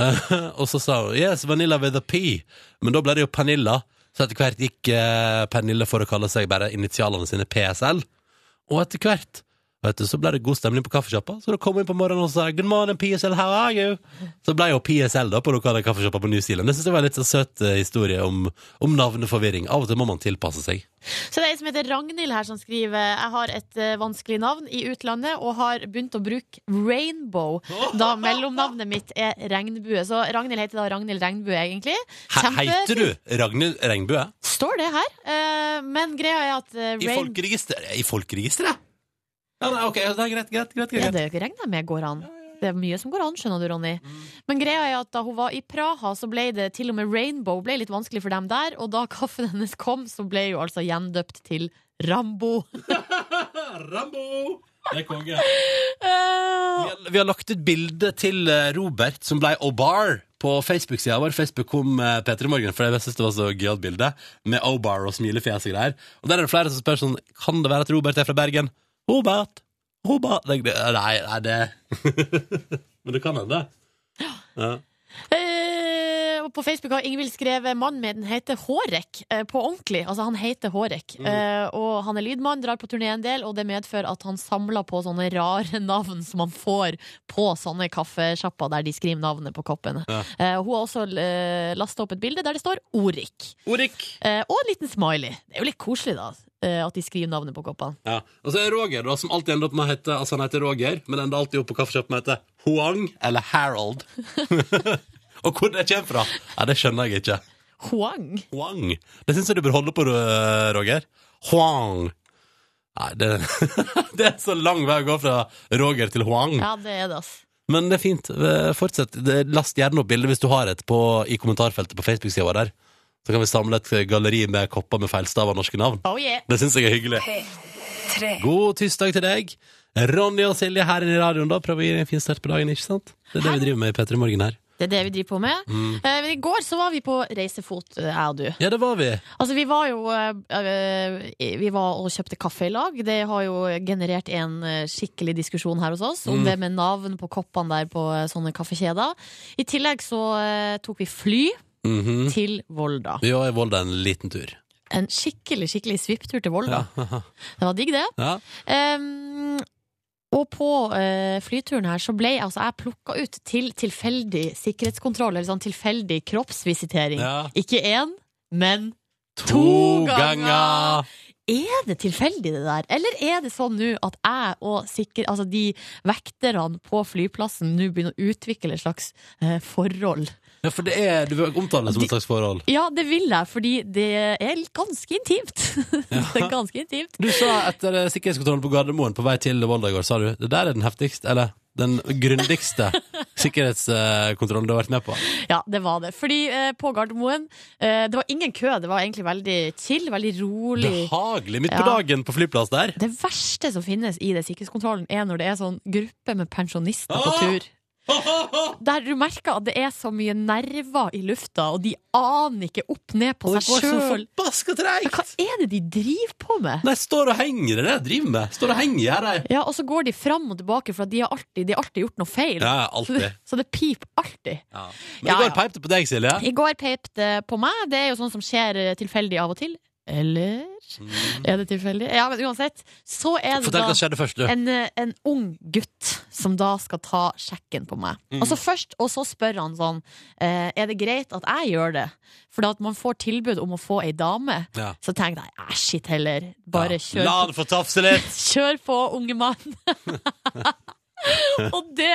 [SPEAKER 2] Eh, og så sa hun 'yes, vanilla with a p', men da ble det jo Pernilla. Så etter hvert gikk eh, Pernille for å kalle seg bare initialene sine PSL. Og etter hvert vet du, så ble det god stemning på kaffesjappa, så da kom hun inn på morgenen og sa 'good morning, PSL, how are you?' Så ble jo PSL da på lokale kaffesjappa på New Zealand. Det synes jeg var en litt så søt eh, historie om, om navneforvirring. Av og til må man tilpasse seg.
[SPEAKER 3] Så det er en som heter Ragnhild her som skriver Jeg har et eh, vanskelig navn i utlandet og har begynt å bruke Rainbow Da mellomnavnet mitt er Regnbue Så Ragnhild heter da Ragnhild Regnbue egentlig
[SPEAKER 2] He
[SPEAKER 3] Kjempe-
[SPEAKER 2] heter du Ragnhild Regnbue?
[SPEAKER 3] Står det her Eh, Men greia er at eh,
[SPEAKER 2] I
[SPEAKER 3] Rain...
[SPEAKER 2] folkeregisteret? I folkeregisteret? Ja, nei, ok, det er greit, greit, greit. greit.
[SPEAKER 3] Ja, det regner jeg med går an det er mye som går an, skjønner du, Ronny
[SPEAKER 2] Mm.
[SPEAKER 3] Men greia er at da hun var i Praha Så ble det til og med Rainbow ble litt vanskelig for dem der Og da kaffen hennes kom Så ble jo altså gjendøpt til Rambo
[SPEAKER 2] Rambo! Det er konge.
[SPEAKER 3] Eh,
[SPEAKER 2] Vi har, vi har lagt ut bilde til eh, Robert, som ble O'Bar på Facebook-sida vår. Facebook kom eh, Peter i morgen, for jeg synes det var så gøyalt bilde, med O'Bar og smilefjes og greier. Og der er det flere som spør sånn Kan det være at Robert er fra Bergen? Robert! Robert! Det, det, nei, nei, det Men det kan hende. Ja.
[SPEAKER 3] Eh, og på Facebook har Ingvild skrevet Mannen min heter Hårek eh, på ordentlig. Altså han heter
[SPEAKER 2] Mm.
[SPEAKER 3] Hårek. Eh, og han er lydmann, drar på turné en del, og det medfører at han samler på sånne rare navn som han får på sånne kaffesjapper der de skriver navnet på koppen.
[SPEAKER 2] Ja.
[SPEAKER 3] Eh, hun har også uh, lasta opp et bilde der det står Orik.
[SPEAKER 2] Orik!
[SPEAKER 3] Eh, og en liten smiley. Det er jo litt koselig, da. eh, At de skriver navnet på koppene.
[SPEAKER 2] Ja. Og så er Roger, da, som alltid ender opp med å hete Altså, han heter Roger, men ender alltid opp på kaffeshoppen med å hete Hoang eller Harold. og hvor det kommer fra, ja, det skjønner jeg ikke.
[SPEAKER 3] Huang.
[SPEAKER 2] Huang. Det syns jeg du bør holde på, Ro- Roger. Huang. Nei, det, det er så lang vei å gå fra Roger til Huang.
[SPEAKER 3] Ja, det er det, ass.
[SPEAKER 2] Men det er fint. Eh, Fortsett. Det- Last gjerne opp bildet hvis du har et på, i kommentarfeltet på Facebook-sida vår der. Så kan vi samle et galleri med kopper med feilstav av norske navn.
[SPEAKER 3] Oh yeah.
[SPEAKER 2] Det syns jeg er hyggelig. God tirsdag til deg. Ronny og Silje her inne i radioen da. Prøver å gi deg en fin start på dagen, ikke sant? Det er det vi driver med i P3 Morgen her.
[SPEAKER 3] Det er det vi driver på med.
[SPEAKER 2] Mm.
[SPEAKER 3] Eh, Men i går så var vi på reisefot, eh, jeg og du.
[SPEAKER 2] Ja, det var vi.
[SPEAKER 3] Altså, vi var jo eh, eh, Vi var og kjøpte kaffe i lag. Det har jo generert en eh, skikkelig diskusjon her hos oss om
[SPEAKER 2] Mm.
[SPEAKER 3] det med navn på koppene der på eh, sånne kaffekjeder. I tillegg så eh, tok vi fly
[SPEAKER 2] Mhm.
[SPEAKER 3] til Volda.
[SPEAKER 2] Vi var i Volda en liten tur.
[SPEAKER 3] En skikkelig, skikkelig svipptur til Volda.
[SPEAKER 2] Ja.
[SPEAKER 3] Det var digg, det.
[SPEAKER 2] Ja.
[SPEAKER 3] Ehm, og på eh, flyturen her så ble jeg, altså, jeg plukka ut til tilfeldig sikkerhetskontroll, eller sånn tilfeldig kroppsvisitering.
[SPEAKER 2] Ja.
[SPEAKER 3] Ikke én, men
[SPEAKER 2] To,
[SPEAKER 3] To ganger!
[SPEAKER 2] ganger!
[SPEAKER 3] er det tilfeldig, det der? Eller er det sånn nå at jeg og sikker, altså de vekterne på flyplassen nå begynner å utvikle et slags eh, forhold?
[SPEAKER 2] Ja, for det er, du omtaler det som
[SPEAKER 3] De-
[SPEAKER 2] et slags forhold.
[SPEAKER 3] Ja, det vil jeg, fordi det er ganske intimt. det er ganske intimt.
[SPEAKER 2] Du sa etter eh, sikkerhetskontrollen på Gardermoen på vei til Volda i går, sa du det der er den heftigste, eller den grundigste sikkerhetskontrollen du har vært med på.
[SPEAKER 3] Ja, det var det. Fordi eh, på Gardermoen, eh, det var ingen kø, det var egentlig veldig chill, veldig rolig.
[SPEAKER 2] Behagelig midt på
[SPEAKER 3] Ja.
[SPEAKER 2] dagen på flyplass der.
[SPEAKER 3] Det verste som finnes i det sikkerhetskontrollen, er når det er sånn gruppe med pensjonister på
[SPEAKER 2] Ah!
[SPEAKER 3] tur. Der du merker at det er så mye nerver i lufta, og de aner ikke opp ned på
[SPEAKER 2] Og det
[SPEAKER 3] seg
[SPEAKER 2] går så
[SPEAKER 3] sjøl.
[SPEAKER 2] forbaska
[SPEAKER 3] Hva
[SPEAKER 2] treigt!
[SPEAKER 3] er det de driver på med?
[SPEAKER 2] Nei, står og henger, det er det jeg driver med. Står og henger her, jeg.
[SPEAKER 3] Ja, Og så går de fram og tilbake, for at de har alltid, de har alltid gjort noe feil.
[SPEAKER 2] Ja,
[SPEAKER 3] Så
[SPEAKER 2] alltid.
[SPEAKER 3] det, så det piper alltid.
[SPEAKER 2] Ja. Men
[SPEAKER 3] Ja,
[SPEAKER 2] i går
[SPEAKER 3] ja.
[SPEAKER 2] peip det på deg, Silje.
[SPEAKER 3] I går peip det på meg. Det er jo sånn som skjer eh, tilfeldig av og til. Eller er det tilfeldig? Ja, men uansett. Så er
[SPEAKER 2] Mm.
[SPEAKER 3] det
[SPEAKER 2] Fortell
[SPEAKER 3] da
[SPEAKER 2] hva som skjedde først, du.
[SPEAKER 3] en, eh, en ung gutt som da skal ta sjekken på meg.
[SPEAKER 2] Mm.
[SPEAKER 3] Altså først, Og så spør han sånn eh, Er det greit at jeg gjør det? For da at man får tilbud om å få ei dame.
[SPEAKER 2] Ja.
[SPEAKER 3] Så tenkte jeg æsj, shit heller. Bare
[SPEAKER 2] Ja.
[SPEAKER 3] kjør,
[SPEAKER 2] La han få tafse litt!
[SPEAKER 3] kjør på, unge mann. og det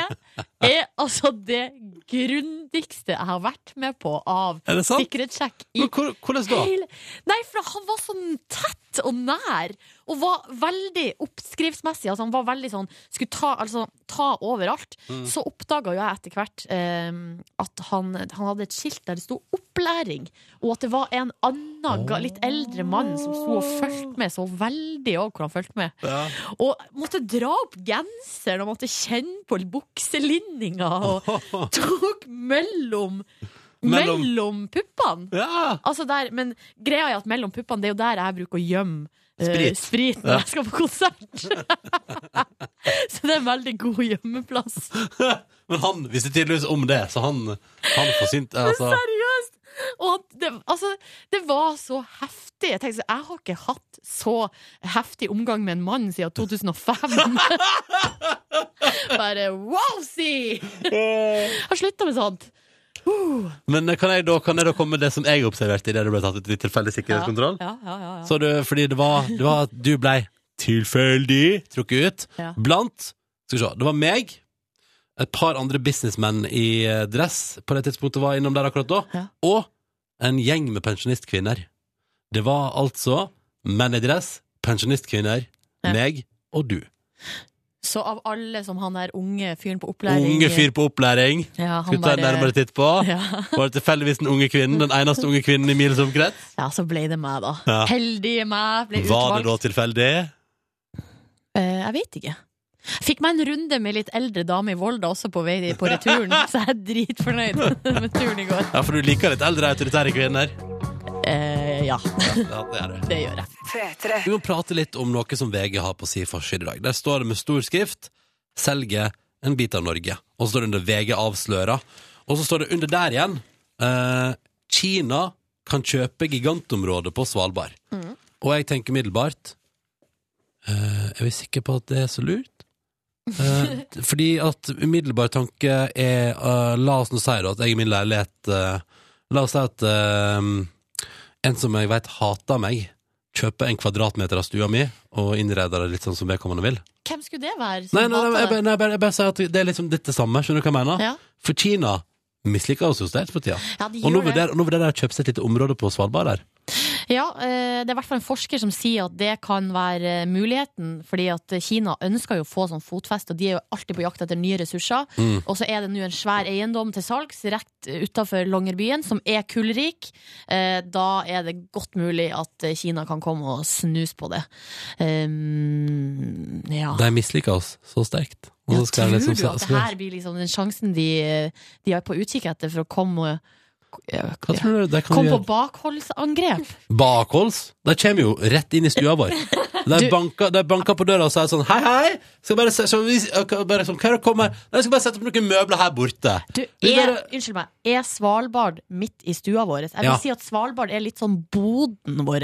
[SPEAKER 3] er altså det grundigste jeg har vært med på av
[SPEAKER 2] Er det sant?
[SPEAKER 3] sikkerhetssjekk i
[SPEAKER 2] Men hvor- hvordan da?
[SPEAKER 3] Hele... Nei, for han var sånn tett og nær, og var veldig oppskriftsmessig. Altså, han var veldig sånn Skulle ta, altså, ta overalt.
[SPEAKER 2] Mm.
[SPEAKER 3] Så oppdaga jo jeg etter hvert eh, at han, han hadde et skilt der det sto 'opplæring', og at det var en annen, ga- litt eldre mann som sto og fulgte med, så veldig òg hvor han fulgte med.
[SPEAKER 2] Ja.
[SPEAKER 3] Og måtte dra opp genseren og måtte kjenne på bukselinninga, og tok mellom
[SPEAKER 2] Mellom-
[SPEAKER 3] mellom puppene.
[SPEAKER 2] Ja.
[SPEAKER 3] Altså der, men greia er at mellom puppene, det er jo der jeg bruker å gjemme eh,
[SPEAKER 2] Sprit.
[SPEAKER 3] sprit når jeg skal på konsert. så det er en veldig god gjemmeplass.
[SPEAKER 2] Men han visste tydeligvis om det, så han, han forsynte altså,
[SPEAKER 3] Seriøst! Og at det, altså, det var så heftig. Jeg tenkte, så, jeg har ikke hatt så heftig omgang med en mann siden 2005. Bare wow-si!
[SPEAKER 2] Eh.
[SPEAKER 3] Jeg har slutta med sånt.
[SPEAKER 2] Men eh, kan jeg, da, kan jeg da komme med det som jeg observerte idet du ble tatt ut i tilfeldig
[SPEAKER 3] Ja,
[SPEAKER 2] sikkerhetskontroll?
[SPEAKER 3] ja, ja, ja, ja.
[SPEAKER 2] Så du, fordi det var, det var at du blei tilfeldig trukket ut
[SPEAKER 3] Ja.
[SPEAKER 2] blant Skal vi se, det var meg, et par andre businessmenn i eh, dress på det tidspunktet var innom der akkurat da,
[SPEAKER 3] Ja.
[SPEAKER 2] og en gjeng med pensjonistkvinner. Det var altså menn i dress, pensjonistkvinner,
[SPEAKER 3] Ja.
[SPEAKER 2] meg og du.
[SPEAKER 3] Så av alle som han der unge fyren på opplæring
[SPEAKER 2] Unge fyr på opplæring.
[SPEAKER 3] ja, han
[SPEAKER 2] Skal vi ta en
[SPEAKER 3] bare-
[SPEAKER 2] nærmere titt på?
[SPEAKER 3] Ja.
[SPEAKER 2] Var det tilfeldigvis den unge kvinnen? Den eneste unge kvinnen i mils omkrets?
[SPEAKER 3] Ja, så ble det meg, da.
[SPEAKER 2] Ja.
[SPEAKER 3] Heldige meg ble
[SPEAKER 2] Var det da
[SPEAKER 3] utvalgt.
[SPEAKER 2] tilfeldig?
[SPEAKER 3] Eh, jeg vet ikke. Jeg Fikk meg en runde med litt eldre dame i Volda også på vei på returen, så jeg er dritfornøyd med turen i går.
[SPEAKER 2] Ja, for du liker litt eldre, autoritære kvinner.
[SPEAKER 3] Eh, ja,
[SPEAKER 2] Ja, det er du.
[SPEAKER 3] det gjør jeg.
[SPEAKER 2] Vi må prate litt om noe som VG har på sin forside i dag. Der står det med stor skrift 'Selger en bit av Norge'. Og så står det under 'VG avslører'. Og så står det under der igjen eh, 'Kina kan kjøpe gigantområdet på Svalbard'. Og jeg tenker umiddelbart eh, Er vi sikre på at det er så lurt? Eh, fordi at umiddelbar tanke er eh, La oss nå si da at jeg i min leilighet eh, La oss si at eh, en som jeg vet hater meg, kjøper en kvadratmeter av stua mi og innreder det litt sånn som vedkommende vil.
[SPEAKER 3] Hvem skulle det være? som
[SPEAKER 2] Nei, nei, nei,
[SPEAKER 3] hatet
[SPEAKER 2] jeg,
[SPEAKER 3] det?
[SPEAKER 2] bare- nei jeg, bare, jeg bare sier at det er liksom litt det samme, skjønner du hva jeg mener?
[SPEAKER 3] Ja.
[SPEAKER 2] For Kina misliker oss jo sterkt for tida.
[SPEAKER 3] Ja, de
[SPEAKER 2] Og nå
[SPEAKER 3] gjør det.
[SPEAKER 2] vurderer, nå vurderer de å kjøpe seg et lite område på Svalbard der.
[SPEAKER 3] Ja, eh, det er i hvert fall en forsker som sier at det kan være eh, muligheten, fordi at Kina ønsker jo å få sånn fotfeste, og de er jo alltid på jakt etter nye ressurser.
[SPEAKER 2] Mm.
[SPEAKER 3] Og så er det nå en svær eiendom til salgs rett utafor Longyearbyen, som er kullrik. Eh, Da er det godt mulig at eh, Kina kan komme og snuse på det. Um, ja.
[SPEAKER 2] De misliker oss så sterkt. Og så
[SPEAKER 3] Ja,
[SPEAKER 2] skal
[SPEAKER 3] tror
[SPEAKER 2] jeg liksom,
[SPEAKER 3] du at det
[SPEAKER 2] skal-
[SPEAKER 3] her blir liksom den sjansen de, eh, de er på utkikk etter for å komme ja,
[SPEAKER 2] Hva tror du det kan
[SPEAKER 3] Kom
[SPEAKER 2] vi
[SPEAKER 3] på
[SPEAKER 2] gjøre?
[SPEAKER 3] bakholdsangrep?
[SPEAKER 2] Bakholds? De kommer jo rett inn i stua vår. De banker, de banker på døra og sier sånn Hei, hei! Skal bare, se- skal vi, skal bare, sånn, hva er det kommer? Nei, jeg skal bare sette opp noen møbler her borte.
[SPEAKER 3] Du,
[SPEAKER 2] Vi
[SPEAKER 3] er,
[SPEAKER 2] bare-
[SPEAKER 3] unnskyld meg, er Svalbard midt i stua vår? Jeg vil
[SPEAKER 2] Ja.
[SPEAKER 3] si at Svalbard er litt sånn boden vår,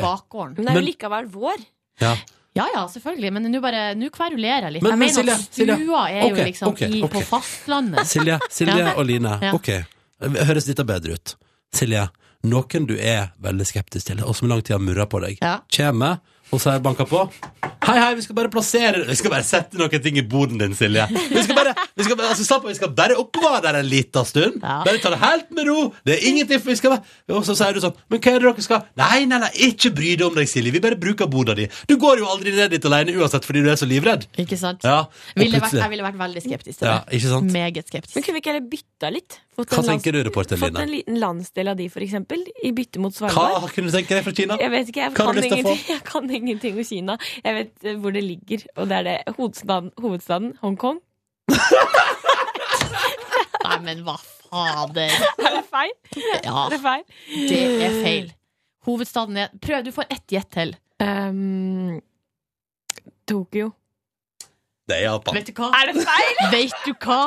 [SPEAKER 2] Ok.
[SPEAKER 3] bakgården.
[SPEAKER 4] Men det er
[SPEAKER 2] Men-
[SPEAKER 4] jo likevel vår.
[SPEAKER 2] Ja.
[SPEAKER 3] Ja ja, selvfølgelig, men nå bare, nå kverulerer jeg litt.
[SPEAKER 2] Men-
[SPEAKER 3] jeg
[SPEAKER 2] men
[SPEAKER 3] mener at
[SPEAKER 2] Silje,
[SPEAKER 3] stua er
[SPEAKER 2] Silje,
[SPEAKER 3] jo liksom
[SPEAKER 2] ok,
[SPEAKER 3] i,
[SPEAKER 2] ok, ok.
[SPEAKER 3] på fastlandet.
[SPEAKER 2] Silje, Silje
[SPEAKER 3] Ja.
[SPEAKER 2] og Line.
[SPEAKER 3] Ja.
[SPEAKER 2] Ok, høres dette bedre ut? Silje, noen du er veldig skeptisk til, og som i lang tid har murra på deg,
[SPEAKER 3] Ja.
[SPEAKER 2] kommer og sier banka på. Hei, hei, vi skal bare plassere Vi skal bare sette noen ting i boden din, Silje. Vi skal bare, vi skal, bare- altså, slapp av, vi skal bare oppbevare der en liten stund.
[SPEAKER 3] Ja.
[SPEAKER 2] Bare ta det helt med ro. Det er ingenting for vi skal bare Og så sier du sånn Men hva er det dere skal Nei, nei, nei, ikke bry deg om deg, Silje. Vi bare bruker boda di. Du går jo aldri ned dit alene uansett fordi du er så livredd.
[SPEAKER 3] Ikke sant?
[SPEAKER 2] Ja, og
[SPEAKER 3] ville vært,
[SPEAKER 2] plutselig-
[SPEAKER 3] jeg ville vært veldig skeptisk til
[SPEAKER 2] ja,
[SPEAKER 3] det.
[SPEAKER 2] ikke sant?
[SPEAKER 3] Meget skeptisk.
[SPEAKER 4] Men kunne vi ikke heller bytta litt? Fått
[SPEAKER 2] Hva
[SPEAKER 4] en lands-
[SPEAKER 2] tenker du, reporter
[SPEAKER 4] Fått
[SPEAKER 2] Line?
[SPEAKER 4] en liten landsdel av de, for eksempel, i bytte mot Svalbard.
[SPEAKER 2] Hva kunne du tenke deg fra Kina?
[SPEAKER 4] Jeg vet ikke, jeg
[SPEAKER 2] Hva har
[SPEAKER 4] kan,
[SPEAKER 2] du lyst til å få?
[SPEAKER 4] ingenting, jeg kan ingenting om Kina. Jeg vet eh, hvor det ligger, og det er det. Hovedstaden, hovedstaden Hongkong.
[SPEAKER 3] Nei, men hva fader?
[SPEAKER 4] Er det feil?
[SPEAKER 3] Ja,
[SPEAKER 4] Er det feil?
[SPEAKER 3] det er feil. Hovedstaden er Prøv, du får ett gjett til.
[SPEAKER 4] Ehm, Tokyo.
[SPEAKER 2] Det er Japan.
[SPEAKER 3] Vet du hva?
[SPEAKER 4] Er det feil?
[SPEAKER 3] Vet du hva?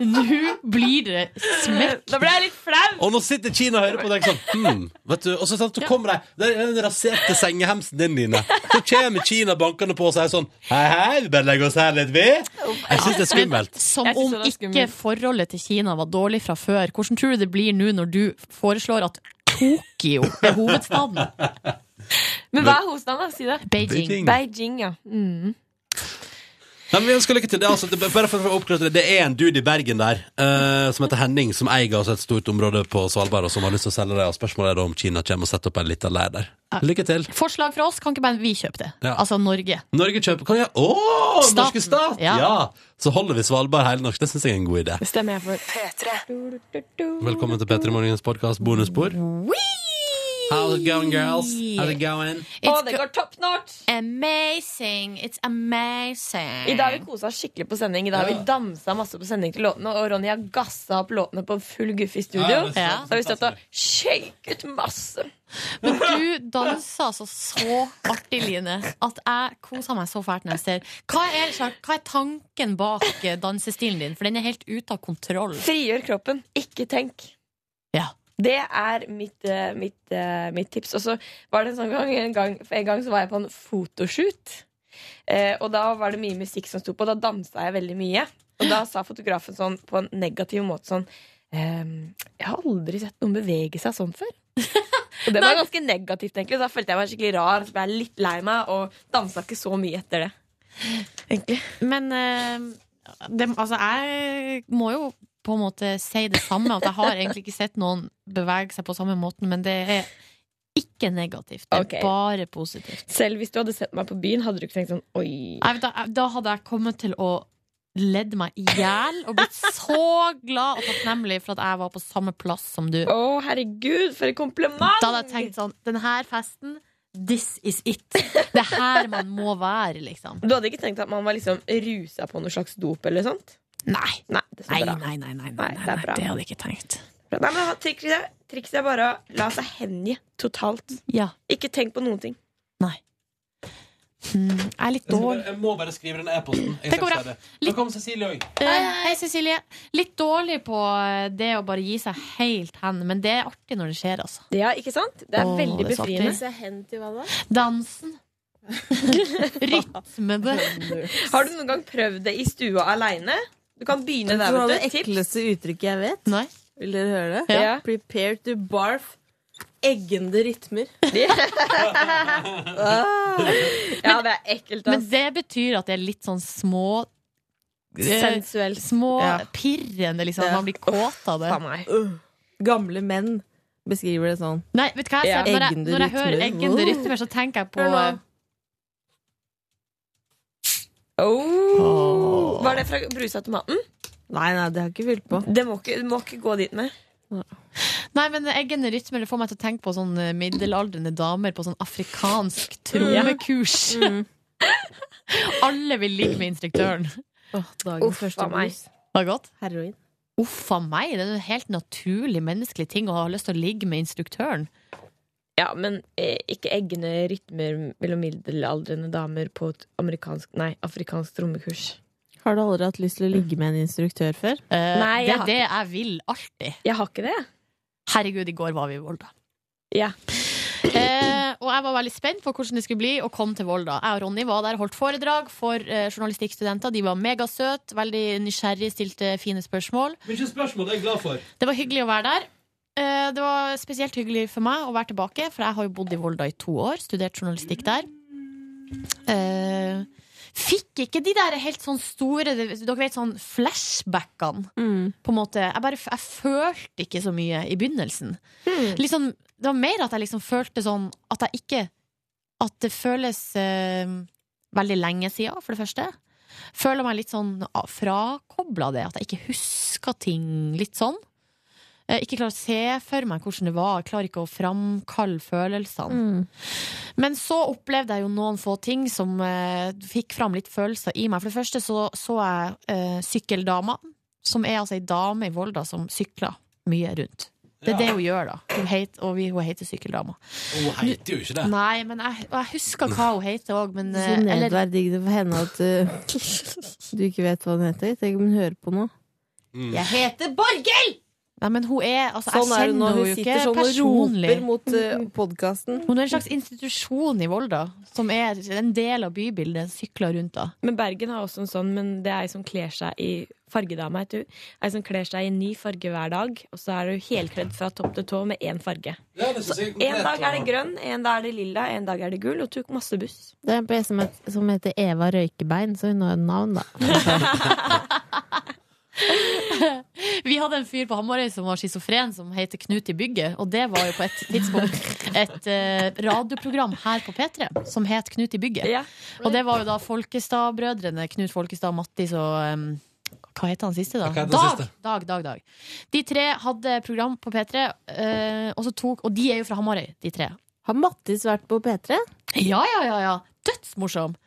[SPEAKER 3] Nå blir det smekk.
[SPEAKER 4] Da ble jeg litt flau!
[SPEAKER 2] Og nå sitter Kina og hører på deg sånn hmm, vet du, Og så, sant, så kommer de Der er den raserte sengehemsen din, Line. Så kommer Kina bankende på og sier sånn Hei, hei, vi bare legger oss her litt, vi. Jeg syns det er skummelt.
[SPEAKER 3] Som
[SPEAKER 4] Jeg synes
[SPEAKER 3] om
[SPEAKER 4] det var
[SPEAKER 3] ikke
[SPEAKER 4] skummelt.
[SPEAKER 3] forholdet til Kina var dårlig fra før. Hvordan tror du det blir nå når du foreslår at Tokyo er hovedstaden?
[SPEAKER 4] Men hva er hovedstaden, da? Si det.
[SPEAKER 3] Beijing.
[SPEAKER 4] Beijing, ja. Mm.
[SPEAKER 2] Nei, men vi ønsker lykke til. Det, er altså, det, bare for å oppklare det, det er en dude i Bergen der eh, som heter Henning, som eier altså et stort område på Svalbard, og som har lyst til å selge det. Og spørsmålet er da om Kina kommer og setter opp en liten leir der. Lykke til.
[SPEAKER 3] Forslag fra oss, kan ikke bare vi kjøpe det?
[SPEAKER 2] Ja.
[SPEAKER 3] Altså Norge.
[SPEAKER 2] Norge kjøper Kan jeg Å, norske
[SPEAKER 3] Staten.
[SPEAKER 2] stat!
[SPEAKER 3] Ja.
[SPEAKER 2] ja! Så holder vi Svalbard helnorsk. Det syns jeg er en god idé.
[SPEAKER 4] Det stemmer jeg for.
[SPEAKER 2] Velkommen til Petter i Morgens podkast bonusspor. How's it going, girls? How's it going?
[SPEAKER 4] Å,
[SPEAKER 3] It's
[SPEAKER 4] det går top notch!
[SPEAKER 3] amazing. It's amazing.
[SPEAKER 4] I dag har vi kosa oss skikkelig på sending. I dag har vi dansa masse på sending til låtene, og Ronny har gassa opp låtene på full guffe i
[SPEAKER 2] Ja,
[SPEAKER 4] studio.
[SPEAKER 2] det er
[SPEAKER 3] Ja.
[SPEAKER 4] Så har vi stått og shaket masse.
[SPEAKER 3] Men du danser altså så artig, Line, at jeg koser meg så fælt når jeg ser. Hva er, hva er tanken bak eh, dansestilen din? For den er helt ute av kontroll.
[SPEAKER 4] Frigjør kroppen, ikke tenk.
[SPEAKER 3] Ja.
[SPEAKER 4] Det er mitt, eh, mitt, eh, mitt tips. Og så var det en sånn gang, en gang, for en gang så var jeg på en fotoshoot. Eh, og da var det mye musikk som sto på, og da dansa jeg veldig mye. Og da sa fotografen sånn på en negativ måte sånn ehm, Jeg har aldri sett noen bevege seg sånn før. Og det var ganske negativt, egentlig. Så da følte jeg meg skikkelig rar. Så ble jeg litt lei meg, og dansa ikke så mye etter det. Egentlig.
[SPEAKER 3] Men eh, det, altså, jeg må jo på en måte si det samme, at jeg har egentlig ikke sett noen bevege seg på samme måten, men det er ikke negativt. Det er
[SPEAKER 4] Ok.
[SPEAKER 3] bare positivt.
[SPEAKER 4] Selv hvis du hadde sett meg på byen, hadde du ikke tenkt sånn oi.
[SPEAKER 3] Nei, da, da hadde jeg kommet til å ledd meg i hjel og blitt så glad og takknemlig for at jeg var på samme plass som du.
[SPEAKER 4] Å, herregud, for et kompliment!
[SPEAKER 3] Da hadde jeg tenkt sånn Den her festen, this is it. Det er her man må være, liksom.
[SPEAKER 4] Du hadde ikke tenkt at man var liksom rusa på noe slags dop eller sånt?
[SPEAKER 3] Nei.
[SPEAKER 4] Nei, det er så
[SPEAKER 3] Nei, nei,
[SPEAKER 4] bra.
[SPEAKER 3] nei, nei, nei, nei,
[SPEAKER 4] Nei, det er
[SPEAKER 3] nei.
[SPEAKER 4] bra.
[SPEAKER 3] Det hadde jeg ikke tenkt.
[SPEAKER 4] Nei, men hva- trikset, er- trikset er bare å la seg hengi totalt.
[SPEAKER 3] Ja.
[SPEAKER 4] Ikke tenk på noen ting.
[SPEAKER 3] Mm, jeg er litt
[SPEAKER 2] Jeg, skal
[SPEAKER 3] dårlig.
[SPEAKER 2] bare, jeg må bare skrive den e-posten. Jeg
[SPEAKER 3] Det går
[SPEAKER 2] skal
[SPEAKER 3] bra.
[SPEAKER 2] se Nå kommer Cecilie òg.
[SPEAKER 3] Eh, hei, Cecilie. Litt dårlig på eh, det å bare gi seg helt hen, men det er artig når det skjer, altså.
[SPEAKER 4] Ja, ikke sant? Det er
[SPEAKER 3] Åh,
[SPEAKER 4] veldig
[SPEAKER 3] det er så artig.
[SPEAKER 4] befriende.
[SPEAKER 8] Se hen til hva da?
[SPEAKER 3] Dansen. Rytmen.
[SPEAKER 4] Har du noen gang prøvd det i stua aleine? Du kan begynne
[SPEAKER 8] Det
[SPEAKER 4] der,
[SPEAKER 8] var det
[SPEAKER 4] vet du. Tips.
[SPEAKER 8] ekleste uttrykket jeg vet.
[SPEAKER 3] Nei.
[SPEAKER 8] Vil dere høre det?
[SPEAKER 3] Ja.
[SPEAKER 8] Prepare to barf. Eggende rytmer. Ah.
[SPEAKER 4] Ja, det er ekkelt,
[SPEAKER 3] Men
[SPEAKER 4] ass.
[SPEAKER 3] det betyr at det er litt sånn små eh,
[SPEAKER 8] Sensuelt.
[SPEAKER 3] Små
[SPEAKER 8] Ja.
[SPEAKER 3] pirrende, liksom.
[SPEAKER 8] Ja.
[SPEAKER 3] Man blir kåt av det.
[SPEAKER 4] Faen meg.
[SPEAKER 8] Uh. Gamle menn beskriver det sånn.
[SPEAKER 3] Nei, vet du hva jeg
[SPEAKER 4] Ja.
[SPEAKER 3] ser? Når jeg, når jeg
[SPEAKER 8] Eggende
[SPEAKER 3] hører
[SPEAKER 8] rytmer.
[SPEAKER 3] eggende rytmer, så tenker jeg på eh,
[SPEAKER 8] Hør nå.
[SPEAKER 4] Oh. Var det fra brusautomaten?
[SPEAKER 8] Nei, nei, det har jeg ikke fylt på.
[SPEAKER 4] Det må ikke, det må ikke gå dit med.
[SPEAKER 3] Nei, men eggende rytmer det får meg til å tenke på sånn eh, middelaldrende damer på sånn afrikansk trommekurs. Alle vil ligge med instruktøren.
[SPEAKER 8] Åh, dagens
[SPEAKER 4] Uff,
[SPEAKER 8] første
[SPEAKER 4] faen meg.
[SPEAKER 8] brus.
[SPEAKER 3] Det er godt.
[SPEAKER 8] Heroin.
[SPEAKER 3] Uff a meg, det er en helt naturlig menneskelig ting å ha lyst til å ligge med instruktøren.
[SPEAKER 4] Ja, men eh, ikke eggende rytmer mellom middelaldrende damer på et amerikansk, nei, afrikansk trommekurs.
[SPEAKER 8] Har du aldri hatt lyst til å ligge med en instruktør før?
[SPEAKER 3] Eh,
[SPEAKER 4] Nei,
[SPEAKER 3] det
[SPEAKER 4] jeg har
[SPEAKER 3] er det jeg vil alltid.
[SPEAKER 4] Jeg har ikke det. jeg.
[SPEAKER 3] Herregud, i går var vi i Volda.
[SPEAKER 4] Ja.
[SPEAKER 3] Eh, og jeg var veldig spent på hvordan det skulle bli å komme til Volda. Jeg og Ronny var der og holdt foredrag for eh, journalistikkstudenter. De var megasøte, veldig nysgjerrige, stilte fine spørsmål.
[SPEAKER 2] Mye spørsmål, det er jeg glad for.
[SPEAKER 3] Det var hyggelig å være der. Eh, Det var spesielt hyggelig for meg å være tilbake, for jeg har jo bodd i Volda i to år, studert journalistikk der. Eh, Fikk ikke de der helt sånn store Dere vet sånn flashbackene, på en måte. Jeg bare jeg følte ikke så mye i begynnelsen. Liksom, det var mer at jeg liksom følte sånn at jeg ikke At det føles eh, veldig lenge siden, for det første. Føler meg litt sånn frakobla det, at jeg ikke husker ting litt sånn. Eh, ikke klarer å se for meg hvordan det var. Jeg klarer ikke å framkalle følelsene. Men så opplevde jeg jo noen få ting som eh, fikk fram litt følelser i meg. For det første så, så jeg eh, Sykkeldama, som er altså ei dame i Volda som sykler mye rundt. Det er det hun gjør, da. Hun heter, og vi, hun heter Sykkeldama.
[SPEAKER 2] Hun heter jo ikke det.
[SPEAKER 3] Nei, men jeg, og jeg husker hva hun heter òg, men
[SPEAKER 8] Så
[SPEAKER 3] eh, eller,
[SPEAKER 8] nedverdigende for henne at uh, du ikke vet hva hun heter. Tenk om hun hører på nå.
[SPEAKER 3] Jeg heter Borghild! Nei, men hun er altså, Jeg
[SPEAKER 8] Sånn er hun
[SPEAKER 3] kjenner
[SPEAKER 8] når hun
[SPEAKER 3] henne jo ikke
[SPEAKER 8] sitter sånn og
[SPEAKER 3] personlig.
[SPEAKER 8] roper mot uh, podkasten.
[SPEAKER 3] Hun er en slags institusjon i Volda, som er en del av bybildet. Sykler rundt da.
[SPEAKER 4] Men Bergen har også en sånn, men det er ei som kler seg i fargedama, heter hun. Ei som kler seg i en ny farge hver dag, og så er hun helkledd fra topp til tå med én farge.
[SPEAKER 2] Ja, det synes jeg er
[SPEAKER 4] En
[SPEAKER 2] komplett,
[SPEAKER 4] dag er det
[SPEAKER 2] og-
[SPEAKER 4] grønn, en dag er det lilla, en dag er det gul, og tok masse buss.
[SPEAKER 8] Det er en på en som, het- som heter Eva Røykebein, så hun har et navn, da.
[SPEAKER 3] Vi hadde en fyr på Hamarøy som var schizofren, som heter Knut i bygget. Og det var jo på et tidspunkt et eh, radioprogram her på P3 som het Knut i bygget.
[SPEAKER 4] Ja.
[SPEAKER 3] Og det var jo da Folkestad-brødrene, Knut Folkestad, Mattis og em, hva heter han siste, da?
[SPEAKER 2] Hva heter han
[SPEAKER 3] Dag,
[SPEAKER 2] siste?
[SPEAKER 3] Dag, Dag, Dag. De tre hadde program på P3, eh, og, så tok, og de er jo fra Hamarøy, de tre.
[SPEAKER 8] Har Mattis vært på P3?
[SPEAKER 3] Ja, ja, ja, ja. Dødsmorsom.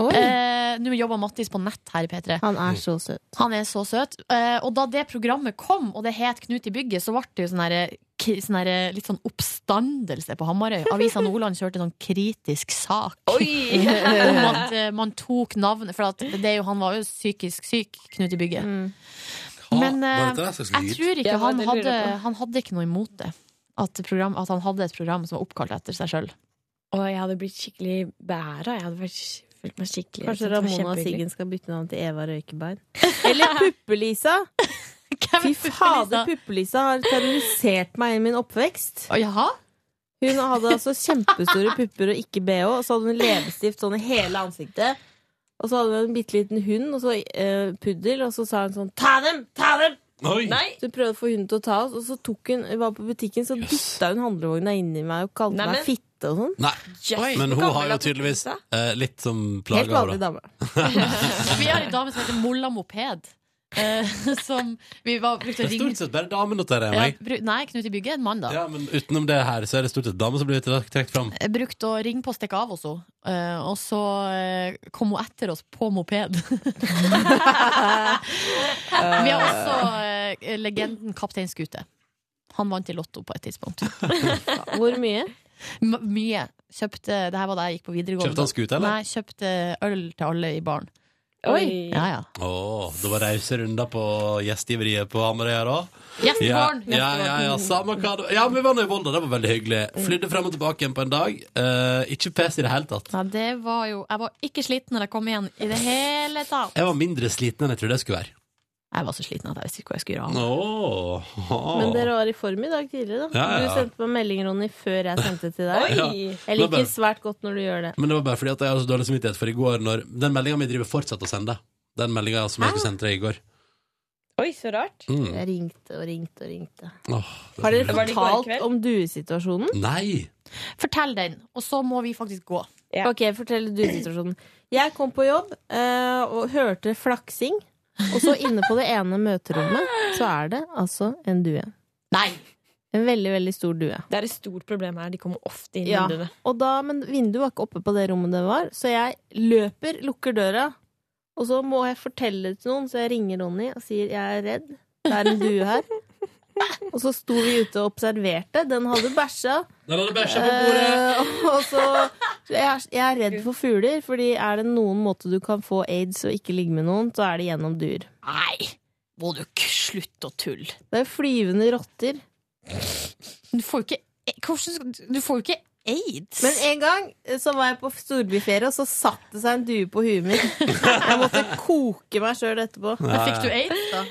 [SPEAKER 8] Oi!
[SPEAKER 3] Eh, Nå jobber Mattis på nett her i P3.
[SPEAKER 8] Han er så søt.
[SPEAKER 3] Han er så søt. Eh, og da det programmet kom, og det het Knut i bygget, så ble det jo sånn herre- k- sånn herre litt sånn oppstandelse på Hamarøy. Avisa Nordland kjørte sånn kritisk sak
[SPEAKER 4] Oi!
[SPEAKER 3] om at eh, man tok navnet For at det er jo, han var jo psykisk syk, Knut i bygget.
[SPEAKER 2] Hva
[SPEAKER 3] Men, eh,
[SPEAKER 2] var dette der slags
[SPEAKER 3] Jeg
[SPEAKER 2] lyd?
[SPEAKER 3] tror
[SPEAKER 4] Mm. Ja,
[SPEAKER 3] ikke han
[SPEAKER 4] det lurer jeg
[SPEAKER 3] hadde,
[SPEAKER 4] på.
[SPEAKER 3] han hadde ikke noe imot det. At, program, at han hadde et program som var oppkalt etter seg sjøl.
[SPEAKER 4] Og jeg hadde blitt skikkelig bæra. Jeg hadde vært, følt meg skikkelig
[SPEAKER 8] Kanskje
[SPEAKER 4] det var
[SPEAKER 8] Ramona
[SPEAKER 4] kjempehyggelig.
[SPEAKER 8] Siggen skal bytte navn til Eva Røykebein? Eller Puppelisa! Fy fader,
[SPEAKER 4] liksom-
[SPEAKER 8] Puppelisa har terrorisert meg i min oppvekst.
[SPEAKER 3] Jaha?
[SPEAKER 8] Hun hadde altså kjempestore pupper og ikke bh, og så hadde hun leppestift sånn i hele ansiktet. Og så hadde hun en bitte liten hund, og så eh, puddel, og så sa hun sånn 'ta dem, ta dem'!
[SPEAKER 2] Oi!
[SPEAKER 8] Så hun prøvde å få hunden til å ta oss, og så tok hun, vi var på butikken, så dytta hun handlevogna inn i meg og kalte
[SPEAKER 4] Nei, men-
[SPEAKER 8] meg fitte og sånn.
[SPEAKER 2] Nei. Men hun har jo tydeligvis eh, litt som plager
[SPEAKER 8] Helt vanlig
[SPEAKER 2] henne, da.
[SPEAKER 8] dame.
[SPEAKER 3] Vi har en dame som heter Molla Moped. eh, som vi var, brukte å
[SPEAKER 2] Det er
[SPEAKER 3] ringe
[SPEAKER 2] stort sett bare damer, noterer jeg
[SPEAKER 3] ja,
[SPEAKER 2] meg.
[SPEAKER 3] bru, Nei, Knut i bygget er en mann, da.
[SPEAKER 2] Ja, men utenom det her, så er det stort sett damer som blir trukket fram.
[SPEAKER 3] Jeg brukte å ringe på å stikke av hos henne, eh, og så eh, kom hun etter oss på moped. Vi har også eh, legenden Kaptein Skute. Han vant i Lotto på et tidspunkt.
[SPEAKER 8] Hvor mye?
[SPEAKER 3] M mye. Kjøpte, det her var da jeg gikk på videregående.
[SPEAKER 2] Kjøpte han skute, eller?
[SPEAKER 3] Nei, kjøpte øl til alle i baren.
[SPEAKER 4] Oi!
[SPEAKER 3] Ja, ja.
[SPEAKER 2] Åh, det var rause runder på gjestgiveriet på Hamarøy her òg. Ja,
[SPEAKER 3] Gjestbarn!
[SPEAKER 2] ja, ja, ja, samme hva det Ja, vi var nå i Volda, det var veldig hyggelig.
[SPEAKER 3] Mm.
[SPEAKER 2] Flydde frem og tilbake igjen på en dag. Eh, ikke pes i det hele tatt.
[SPEAKER 3] Ja, det var jo Jeg var ikke sliten når jeg kom igjen i det hele tatt.
[SPEAKER 2] Jeg var mindre sliten enn jeg trodde jeg skulle være.
[SPEAKER 3] Jeg var så sliten at jeg visste ikke hva jeg skulle gjøre av.
[SPEAKER 2] Åh, åh.
[SPEAKER 8] Men dere var i form i dag tidligere, da.
[SPEAKER 2] Ja, ja.
[SPEAKER 8] Du sendte meg melding, Ronny, før jeg sendte til deg.
[SPEAKER 2] Ja.
[SPEAKER 8] Jeg liker svært godt når du gjør det.
[SPEAKER 2] Men det var bare fordi at jeg hadde så dårlig samvittighet for i går når Den meldinga mi driver fortsatt å sende. Den meldinga som jeg skulle sende til deg i går.
[SPEAKER 4] Oi, så rart.
[SPEAKER 2] Mm.
[SPEAKER 8] Jeg ringte og ringte og ringte.
[SPEAKER 2] Åh, det
[SPEAKER 8] Har
[SPEAKER 2] er
[SPEAKER 8] dere
[SPEAKER 4] Var det i går
[SPEAKER 8] fortalt
[SPEAKER 4] kveld?
[SPEAKER 8] om duesituasjonen?
[SPEAKER 2] Nei!
[SPEAKER 3] Fortell den, og så må vi faktisk gå.
[SPEAKER 4] Ja.
[SPEAKER 8] Ok, fortell duesituasjonen. Jeg kom på jobb eh, og hørte flaksing. Og så inne på det ene møterommet så er det altså en due.
[SPEAKER 3] Nei!
[SPEAKER 8] En veldig, veldig stor due.
[SPEAKER 7] Det er et stort problem her. De kommer ofte inn i
[SPEAKER 8] Ja.
[SPEAKER 7] vinduene.
[SPEAKER 8] Og da, men vinduet var ikke oppe på det rommet det var, så jeg løper, lukker døra, og så må jeg fortelle det til noen, så jeg ringer Ronny og sier jeg er redd, det er en due her. Og så sto vi ute og observerte. Den hadde bæsja.
[SPEAKER 2] Den hadde bæsja på bordet!
[SPEAKER 8] Eh, og så jeg er, jeg er redd for fugler, Fordi er det noen måte du kan få aids og ikke ligge med noen, så er det gjennom dyr.
[SPEAKER 3] Nei! Må du ikke slutte å tulle?
[SPEAKER 8] Det er flyvende rotter.
[SPEAKER 3] Du får jo ikke, e-, hvordan, skal- du får jo ikke aids.
[SPEAKER 8] Men en gang eh, så var jeg på storbyferie, og så satt det seg en due på huet mitt. Jeg måtte koke meg sjøl etterpå.
[SPEAKER 3] Men fikk du aids, da?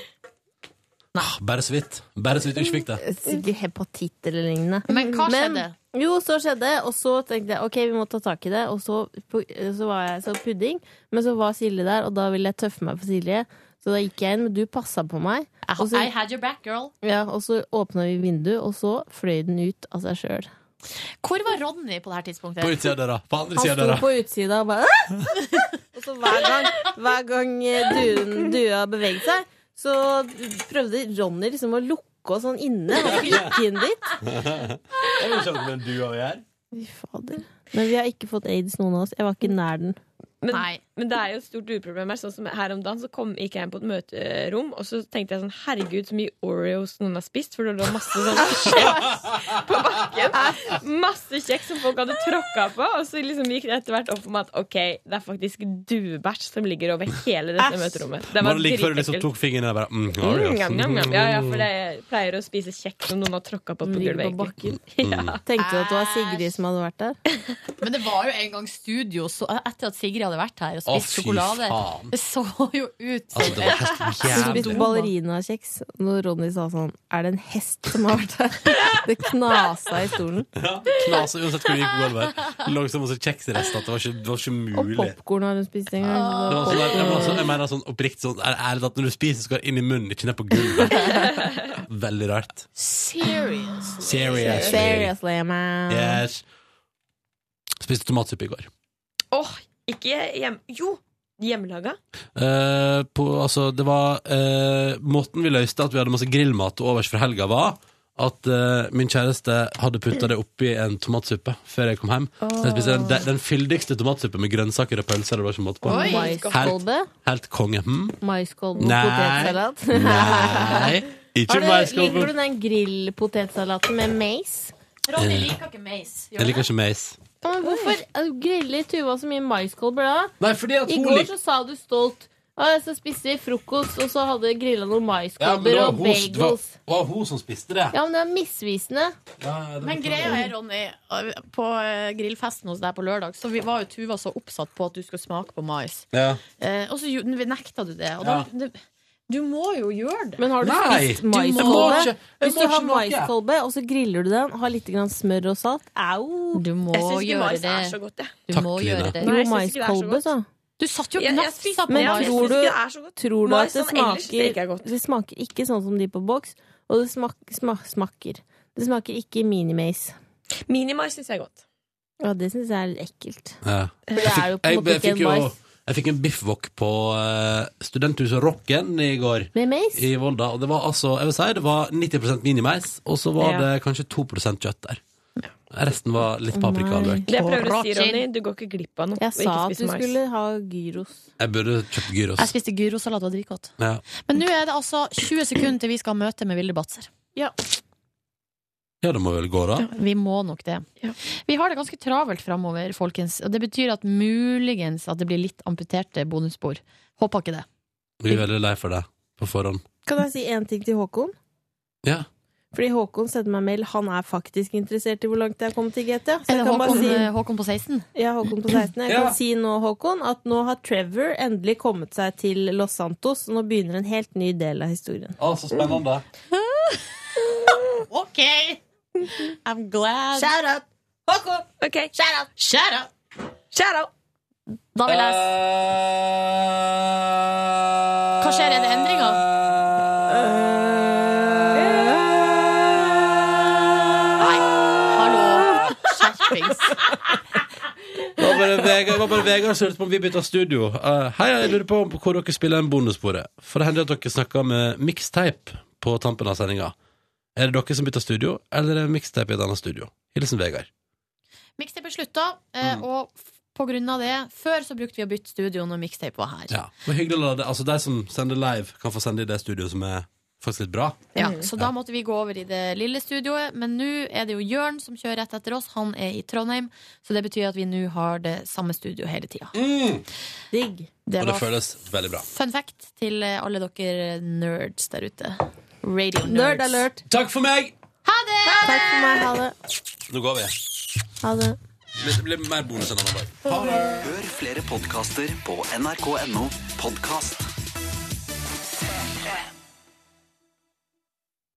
[SPEAKER 2] Ah, Bare så vidt. Bare så vidt du ikke fikk det.
[SPEAKER 8] Eh, Sikkert hepatitt eller lignende.
[SPEAKER 3] Men hva skjedde?
[SPEAKER 8] Jo, så skjedde det, og så tenkte jeg ok, vi må ta tak i det. Og så, på- så var jeg så pudding, men så var Silje der, og da ville jeg tøffe meg for Silje. Så da gikk jeg inn, men du passa på meg.
[SPEAKER 3] I,
[SPEAKER 8] og så-
[SPEAKER 3] I had your back, girl.
[SPEAKER 8] Ja, og så åpna vi vinduet, og så fløy den ut av seg sjøl.
[SPEAKER 3] Hvor var Ronny på det her tidspunktet?
[SPEAKER 2] På utsida av døra. På andre
[SPEAKER 8] Han
[SPEAKER 2] sida av
[SPEAKER 8] sto
[SPEAKER 2] døra.
[SPEAKER 8] på utsida og bare «Åh!» Og så hver gang, hver gang eh, duen, dua beveget seg, så prøvde Ronny liksom å lukke oss sånn inne. Han gikk inn dit.
[SPEAKER 2] Jeg vil ikke ha med en due å gjøre.
[SPEAKER 8] Fy fader. Men vi har ikke fått aids, noen av oss. Jeg var ikke nær den.
[SPEAKER 4] Men,
[SPEAKER 3] Nei.
[SPEAKER 4] men det er jo et stort dueproblem her. Sånn som her om dagen så kom, gikk jeg inn på et møterom, og så tenkte jeg sånn Herregud, så mye Oreos noen har spist, for det lå masse sånn kjeks på bakken. Masse kjeks som folk hadde tråkka på. Og så liksom gikk det etter hvert opp for meg at OK, det er faktisk duebæsj som ligger over hele dette møterommet. Det
[SPEAKER 2] Var
[SPEAKER 4] var
[SPEAKER 2] det like før du liksom
[SPEAKER 4] dritekkelt.
[SPEAKER 2] tok fingeren og bare mm,
[SPEAKER 4] Mm,
[SPEAKER 2] Oreos.
[SPEAKER 4] njam, njam, njam. Ja, ja, for jeg pleier å spise kjeks som noen har tråkka på på gulvet.
[SPEAKER 8] Ligger på
[SPEAKER 4] egentlig.
[SPEAKER 8] bakken.
[SPEAKER 2] Mm.
[SPEAKER 8] Tenkte du at det var Sigrid som hadde vært der?
[SPEAKER 3] Men det var jo en gang studio så, e-, etter at Sigrid hadde vært her og
[SPEAKER 2] Å,
[SPEAKER 3] spist
[SPEAKER 2] fy
[SPEAKER 3] sjokolade.
[SPEAKER 2] faen.
[SPEAKER 3] Det så jo ut som
[SPEAKER 2] Altså, det var helt
[SPEAKER 8] Spiste
[SPEAKER 2] jævlig.
[SPEAKER 8] ballerinakjeks. Når Ronny sa sånn Er det en hest som har vært her? Det knasa i stolen.
[SPEAKER 2] Ja, Knas uansett hvor du gikk på gulvet. Lå som også kjeksrester. Det var ikke, det var ikke
[SPEAKER 8] Og
[SPEAKER 2] mulig.
[SPEAKER 8] popkorn har hun spist en gang. så
[SPEAKER 2] Det var sånn, der- det var sånn, jeg mener sånn oppriktig sånn er- Ærlig talt, når du spiser, skal det inn i munnen, ikke ned på gulvet. Veldig rart.
[SPEAKER 3] serious.
[SPEAKER 2] Seriously.
[SPEAKER 8] Seriously, man.
[SPEAKER 2] Yes. Spiste tomatsuppe i går.
[SPEAKER 4] Åh, ikke hjem... Jo! Hjemmelaga.
[SPEAKER 2] Eh, på, altså, det var eh, Måten vi løste at vi hadde masse grillmat til overs for helga, var at eh, min kjæreste hadde putta det oppi en tomatsuppe før jeg kom hjem. Så jeg spiste den, de- den fyldigste tomatsuppe med grønnsaker og pølser. Det var ikke måte på.
[SPEAKER 3] Oi.
[SPEAKER 8] Maiskolbe.
[SPEAKER 2] Helt konge. Hm?
[SPEAKER 8] Maiskolbe og
[SPEAKER 2] Nei.
[SPEAKER 8] potetsalat.
[SPEAKER 2] Nei, ikke
[SPEAKER 8] Har du, liker
[SPEAKER 2] maiskolben.
[SPEAKER 8] du den grillpotetsalaten med mais?
[SPEAKER 3] Ronny liker ikke mais.
[SPEAKER 2] Jeg liker ikke mais.
[SPEAKER 8] Ja, men hvorfor griller Tuva så mye maiskolber da?
[SPEAKER 2] Nei, fordi at
[SPEAKER 8] I
[SPEAKER 2] hun
[SPEAKER 8] går
[SPEAKER 2] liker
[SPEAKER 8] så sa du stolt «Å, Så spiste vi frokost, og så hadde jeg grilla noen
[SPEAKER 2] Ja, men det
[SPEAKER 8] maiskolber
[SPEAKER 2] var
[SPEAKER 8] og
[SPEAKER 2] hun- det var-
[SPEAKER 8] bagels.
[SPEAKER 2] Det var hun som spiste det.
[SPEAKER 8] Ja, men det er misvisende.
[SPEAKER 2] Ja, det var-
[SPEAKER 3] Men greia er, Ronny, på eh, grillfesten hos deg på lørdag Så vi var jo Tuva så oppsatt på at du skulle smake på mais.
[SPEAKER 2] Ja.
[SPEAKER 3] Eh, og så ju- nekta du det. Og da, det du må jo gjøre det.
[SPEAKER 8] Men har du
[SPEAKER 2] Nei,
[SPEAKER 8] spist
[SPEAKER 2] du må
[SPEAKER 8] maiskolbe?
[SPEAKER 2] ikke- jeg
[SPEAKER 8] Hvis
[SPEAKER 2] må
[SPEAKER 8] du har
[SPEAKER 2] ikke noe.
[SPEAKER 8] maiskolbe, og så griller du den, har litt grann smør og salt Au!
[SPEAKER 3] Du må
[SPEAKER 4] Jeg syns ikke
[SPEAKER 3] gjøre
[SPEAKER 4] mais
[SPEAKER 3] det.
[SPEAKER 4] er så godt, jeg.
[SPEAKER 3] Du
[SPEAKER 2] Takk,
[SPEAKER 3] må
[SPEAKER 2] Line.
[SPEAKER 3] gjøre det.
[SPEAKER 8] Jo,
[SPEAKER 4] Nei, jeg synes ikke det er så
[SPEAKER 8] maiskolbe,
[SPEAKER 4] godt.
[SPEAKER 8] sa
[SPEAKER 3] Du satt jo
[SPEAKER 4] Jeg,
[SPEAKER 3] og
[SPEAKER 4] jeg
[SPEAKER 3] nafsa
[SPEAKER 4] spiste
[SPEAKER 3] på
[SPEAKER 4] men jeg
[SPEAKER 8] mais.
[SPEAKER 4] synes
[SPEAKER 8] Tror
[SPEAKER 3] maisen.
[SPEAKER 8] du-
[SPEAKER 4] ikke det er så godt.
[SPEAKER 8] Tror du
[SPEAKER 4] Mais
[SPEAKER 8] at det
[SPEAKER 4] sånn ellers synes jeg ikke er
[SPEAKER 8] smaker
[SPEAKER 4] godt.
[SPEAKER 8] Det smaker ikke sånn som de på boks, og det smak, sma, smaker Det smaker ikke minimais.
[SPEAKER 4] Minimais syns jeg er godt.
[SPEAKER 8] Ja, det syns jeg er litt ekkelt.
[SPEAKER 2] Ja.
[SPEAKER 8] For det er jo på en
[SPEAKER 2] Jeg,
[SPEAKER 8] måte
[SPEAKER 2] jeg
[SPEAKER 8] ikke
[SPEAKER 2] fikk
[SPEAKER 8] en
[SPEAKER 2] jo
[SPEAKER 8] mais
[SPEAKER 2] jeg fikk en biffwok på eh, Studenthuset Rocken i går.
[SPEAKER 8] med mais.
[SPEAKER 2] i Volda. Og det var altså, jeg vil si, det var 90 minimeis, og så var
[SPEAKER 4] Ja.
[SPEAKER 2] det kanskje 2 kjøtt der. Resten var litt paprika og
[SPEAKER 8] Nei.
[SPEAKER 2] løk.
[SPEAKER 4] Det jeg prøver å si,
[SPEAKER 3] Rosin.
[SPEAKER 4] Ronny, du går ikke glipp av noe. ved
[SPEAKER 8] Jeg sa
[SPEAKER 4] ikke å
[SPEAKER 8] at
[SPEAKER 4] spise
[SPEAKER 8] du
[SPEAKER 4] mais.
[SPEAKER 8] skulle ha gyros.
[SPEAKER 2] Jeg burde kjøpt
[SPEAKER 3] Jeg
[SPEAKER 2] gyros.
[SPEAKER 3] spiste gyrosalat og dritgodt.
[SPEAKER 2] Ja.
[SPEAKER 3] Men nå er det altså 20 sekunder til vi skal ha møte med Vilde Batzer.
[SPEAKER 2] ja, det må vel gå, da.
[SPEAKER 3] Vi må nok det. Vi har det ganske travelt framover, folkens. Og det betyr at muligens at det blir litt amputerte bonusspor. Håper ikke det.
[SPEAKER 2] Vi er veldig lei for det på forhånd.
[SPEAKER 8] Kan jeg si én ting til Håkon?
[SPEAKER 2] Ja.
[SPEAKER 8] Fordi Håkon sendte meg mail. Han er faktisk interessert i hvor langt jeg har kommet i GT. Så
[SPEAKER 3] Er
[SPEAKER 8] jeg
[SPEAKER 3] det
[SPEAKER 8] kan bare
[SPEAKER 3] Håkon,
[SPEAKER 8] si
[SPEAKER 3] eh, Håkon på 16?
[SPEAKER 8] Jeg er Håkon på 16. Jeg
[SPEAKER 2] Ja.
[SPEAKER 8] kan si nå, Håkon, at nå har Trevor endelig kommet seg til Los Santos. Og nå begynner en helt ny del av historien.
[SPEAKER 2] Å, så spennende.
[SPEAKER 3] OK! I'm glad.
[SPEAKER 8] Shout out! Håkon!
[SPEAKER 4] Ok,
[SPEAKER 3] Shut up!
[SPEAKER 4] shout out!
[SPEAKER 3] Da vil jeg Hva skjer? Er det endringer?
[SPEAKER 2] Eh, Vegard, det var bare Vegard som lurte på om vi bytta studio. Eh, hei, jeg lurer på om hvor dere spiller en bonussporet. For det hender at dere snakker med mixtape på tampen av sendinga. Er det dere som bytter studio, eller er det mixtape i et annet studio? Hilsen Vegard.
[SPEAKER 3] Mixtape er slutta, eh,
[SPEAKER 2] Mm.
[SPEAKER 3] og f- på grunn av det Før så brukte vi å bytte studio når mixtape var her.
[SPEAKER 2] Ja, men hyggelig å la det Altså, de som sender live, kan få sende i det studioet som er faktisk litt bra.
[SPEAKER 3] Ja, så da måtte vi gå over i det lille studioet. Men nå er det jo Jørn som kjører rett etter oss. Han er i Trondheim, så det betyr at vi nå har det samme studio hele tida.
[SPEAKER 8] Digg.
[SPEAKER 3] Det
[SPEAKER 2] Mm. Og det
[SPEAKER 3] var
[SPEAKER 2] føles veldig bra.
[SPEAKER 3] fun fact til eh, alle dere nerds der ute. Radio
[SPEAKER 8] Nerd
[SPEAKER 3] nerds.
[SPEAKER 8] alert.
[SPEAKER 2] Takk for meg!
[SPEAKER 8] Takk for meg. Ha det.
[SPEAKER 2] Nå går vi.
[SPEAKER 8] Ha det.
[SPEAKER 2] Det blir mer bonus enn annen dag.
[SPEAKER 9] Hør flere podkaster på nrk.no podkast.